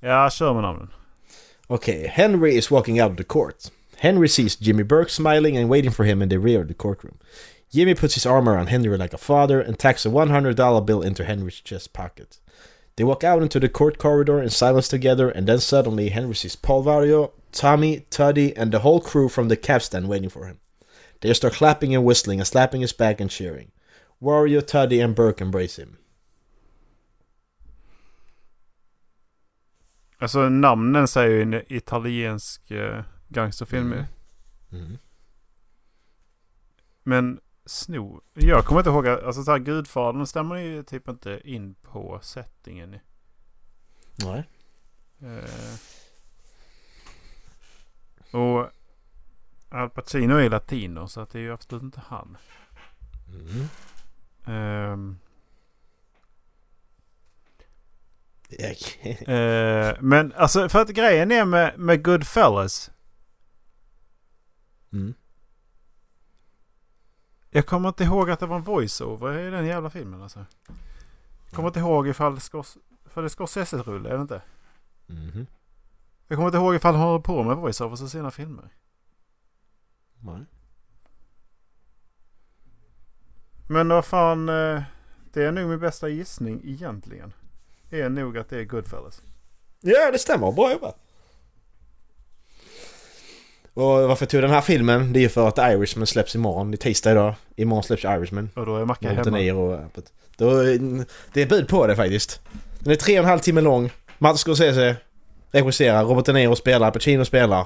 S3: Ja, kör med namnen.
S4: Okay, Henry is walking out of the court. Henry sees Jimmy Burke smiling and waiting for him in the rear of the courtroom. Jimmy puts his arm around Henry like a father and tacks a $100 bill into Henry's chest pocket. They walk out into the court corridor in silence together, and then suddenly Henry sees Paul Vario, Tommy, Tuddy, and the whole crew from the cab stand waiting for him. They start clapping and whistling and slapping his back and cheering. Wario, Tuddy, and Burke embrace him.
S3: Alltså namnen säger ju en italiensk eh, gangsterfilm ju.
S4: Mm.
S3: Men sno... Jag kommer inte ihåg. att- Alltså så här Gudfadern stämmer ju typ inte in på settingen.
S4: Nej.
S3: Eh. Och Al Pacino är latino så att det är ju absolut inte han.
S4: Mm.
S3: Ehm,
S4: Jag-
S3: eh, men alltså för att grejen är med, med Goodfellas.
S4: Mm.
S3: Jag kommer inte ihåg att det var en voiceover i den jävla filmen alltså. Kommer inte ihåg ifall Scors- för det är Scorsese-rulle, är det inte?
S4: Mhm.
S3: Jag kommer inte ihåg ifall han håller på med voiceovers i sina filmer.
S4: Nej.
S3: Men vad fan, eh, det är nog min bästa gissning egentligen. Är nog att det är Goodfellas.
S4: Ja, det stämmer. Bra jobbat. Och varför tog jag den här filmen? Det är ju för att Irishman släpps imorgon. Det är tisdag idag. Imorgon släpps Irishman.
S3: Och då är Mackan hemma.
S4: Montenegro. och- Då, det är bud på det faktiskt. Den är tre och en halv timme lång. Martin Scorsese regisserar, Robert De Niro spelar, Pacino spelar.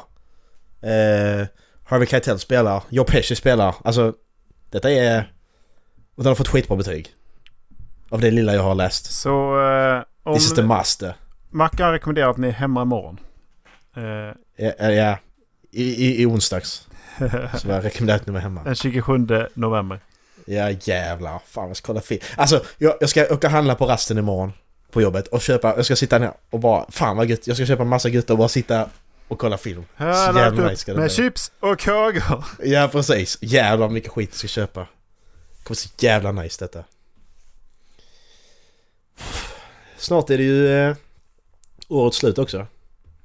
S4: Eh, Harvey Keitel spelar, Joe Pesci spelar. Alltså, detta är... Och den har fått skitbra betyg. Av det lilla jag har läst.
S3: Så eh, om
S4: This is the must. eh.
S3: Mackan rekommenderar att ni är hemma imorgon. Eh,
S4: Ja, ja, ja. I, i, I onsdags. Så jag rekommenderar att ni var hemma.
S3: den 27 november.
S4: Ja jävlar, fan jag ska kolla film. Alltså jag, jag ska åka och handla på rasten imorgon på jobbet och köpa, jag ska sitta ner och bara fan vad gött, jag ska köpa en massa gött och bara sitta och kolla film.
S3: Här har jag
S4: Så jävla
S3: lagt
S4: nice ska
S3: upp
S4: det
S3: med
S4: bli.
S3: chips och kakor.
S4: Ja precis, jävlar vilken skit jag ska köpa. Det kommer så jävla nice detta. Snart är det ju eh, årets slut också.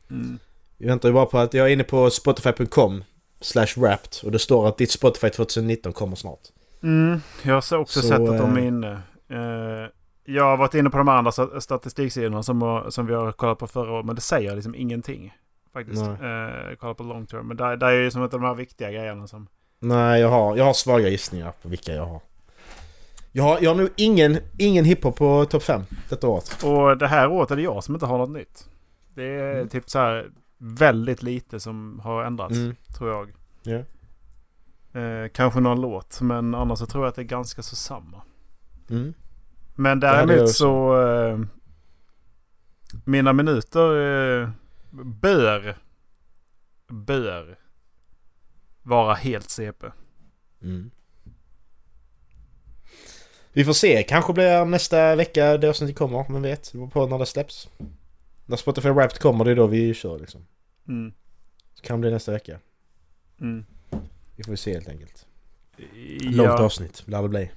S3: Mm.
S4: Vi väntar ju bara på att jag är inne på spotify.com slash wrapped och det står att ditt Spotify 2019 kommer snart.
S3: Mm, jag har också
S4: Så,
S3: sett att de är
S4: eh,
S3: inne. Eh, jag har varit inne på de andra sta- statistiksidorna som, har- som vi har kollat på förra året, men det säger liksom ingenting. Faktiskt.
S4: Nej.
S3: Eh, kolla på long term. Men där, där är ju som inte de här viktiga grejerna som...
S4: Nej, jag har, jag har svaga gissningar på vilka jag har. Jag har, jag har nog ingen, ingen hiphop på topp 5 detta året.
S3: Och det här året är det jag som inte har något nytt. Det är typ så här väldigt lite som har ändrats,
S4: Mm.
S3: tror jag.
S4: Ja.
S3: Eh, kanske någon låt, men annars så tror jag att det är ganska så samma.
S4: Mm.
S3: Men
S4: hade jag
S3: däremot
S4: också.
S3: så... Eh, mina minuter eh, bör... Bör vara helt CP.
S4: Mm. Vi får se, kanske blir nästa vecka det avsnittet kommer, men vet. Det beror på när det släpps. När Spotify Wrapped kommer, det är då vi kör liksom.
S3: Mm.
S4: Så kan det bli nästa vecka.
S3: Mm.
S4: Vi får se helt enkelt. Långt
S3: Ja,
S4: avsnitt lär det bli.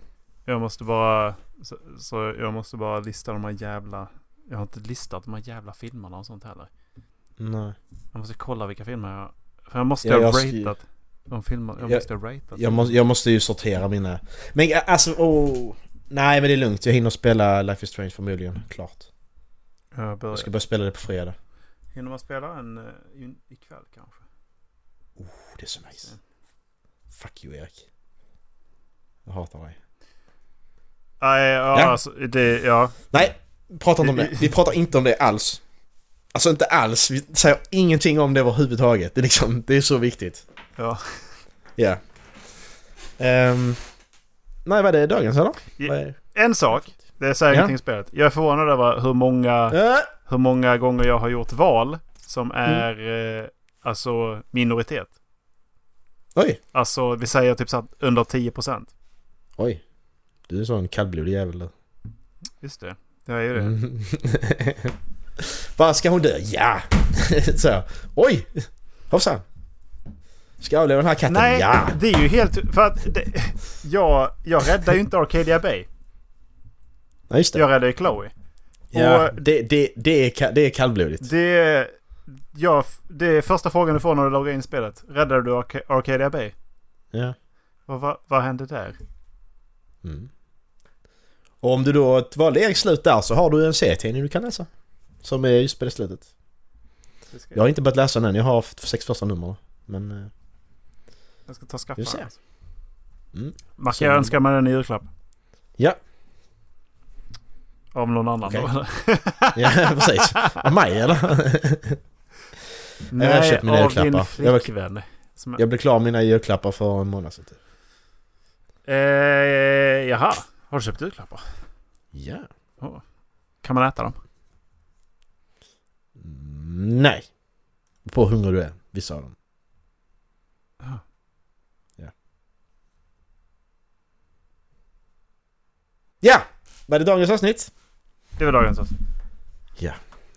S3: jag måste bara... Så, så jag måste bara lista de här jävla... Jag har inte listat de här jävla filmerna och sånt heller.
S4: Nej.
S3: Jag måste kolla vilka filmer jag... För jag måste
S4: Ja,
S3: ha
S4: jag skri-
S3: ratat. De filmer, jag,
S4: Jag-
S3: måste ha ratat.
S4: Jag, må, jag måste ju sortera mina... Men ä, alltså, oh. Nej men det är lugnt, jag hinner spela Life is Strange förmodligen, klart.
S3: jag börjar-
S4: Jag ska börja spela det på fredag.
S3: Hinner man spela en eh, in- ikväll kanske?
S4: Oh, det är så nice. Fuck you Erik. Jag hatar dig.
S3: Nej, ja,
S4: Ja.
S3: alltså det... Ja.
S4: Nej, prata inte om det. Vi pratar inte om det alls. Alltså inte alls. Vi säger ingenting om det överhuvudtaget. Det är, liksom, det är så viktigt.
S3: ja.
S4: Ja. Ehm, nej, vad är det dagens eller?
S3: Ja.
S4: Vad är-
S3: En sak. Det säger
S4: Ja.
S3: ingenting i spelet. Jag är förvånad över hur många,
S4: Äh,
S3: hur många gånger jag har gjort val som
S4: Mm.
S3: är eh, alltså minoritet.
S4: oj,
S3: Alltså vi säger typ så att under 10%.
S4: oj. Du är en sån kallblodig jävel du.
S3: Just det. Jag är ju det.
S4: Mm. Vad ska hon dö? Ja! så. Oj! Hoppsan! Ska jag avliva den här katten?
S3: Nej,
S4: Ja!
S3: det är ju helt... För att det, jag, jag räddar ju inte Arcadia Bay.
S4: Ja, just det.
S3: Jag räddar ju Chloe.
S4: Ja,
S3: Och-
S4: det, det, det, är, ka- det är kallblodigt.
S3: Det, ja, f- det är första frågan du får när du loggar in i spelet. Räddade du Arca- Arcadia Bay?
S4: Ja.
S3: Vad, vad, vad hände där?
S4: Och om du då valde Eriks slut där så har du en serietidning du kan läsa. Som är just på det slutet.
S3: Jag ska,
S4: Jag har inte börjat läsa den än, jag har haft sex första nummer. Men... eh,
S3: jag ska ta och skaffa
S4: Vi får se.
S3: den.
S4: Mm.
S3: Macke,
S4: Så-
S3: jag önskar mig den i julklapp.
S4: Ja.
S3: Av någon annan
S4: Okej.
S3: då eller?
S4: Ja, precis. Av mig eller? Jag har köpt mina
S3: av din
S4: julklappar. Jag var-
S3: flickvän. Som,
S4: Jag blev klar med mina julklappar för en månad sedan. typ.
S3: eh, jaha, har du köpt julklappar?
S4: Ja.
S3: Kan man äta dem?
S4: Mm, Nej. På hur hungrig du är, vissa av dem.
S3: Ah.
S4: Ja. Ja! Var det dagens avsnitt?
S3: Det var dagens avsnitt.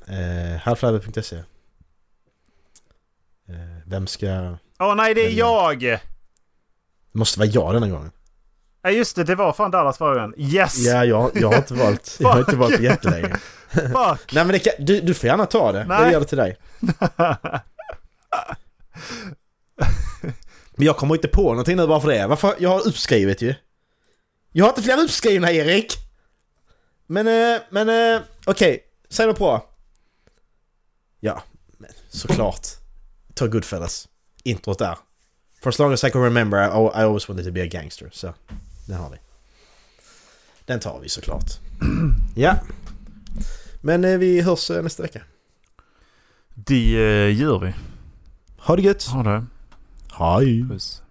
S4: Eh, Halflife.se eh, Vem ska... Det
S3: Åh nej, det är
S4: Men-
S3: jag!
S4: måste vara jag denna gången.
S3: Ja just det, det var fan Dallas förra gången. Yes!
S4: Ja, jag, jag har inte valt, jag har inte valt jättelänge.
S3: Fuck!
S4: Nej men det kan, du, du får gärna ta det.
S3: Nej.
S4: Jag gör det till dig. Men jag kommer inte på någonting nu bara för det. Varför? Jag har uppskrivet ju. Jag har inte fler uppskrivna Erik! Men, eh, men eh, okej. Säg något bra. Ja, men såklart. Ta Goodfellas. Introt där. For as long as I can remember I, I always wanted to be a gangster. Så, den har vi. Den tar vi såklart. ja. Men eh, vi hörs eh, nästa vecka.
S3: Det eh, gör vi.
S4: Ha det gött!
S3: Ha det.
S4: Hej!
S3: Puss.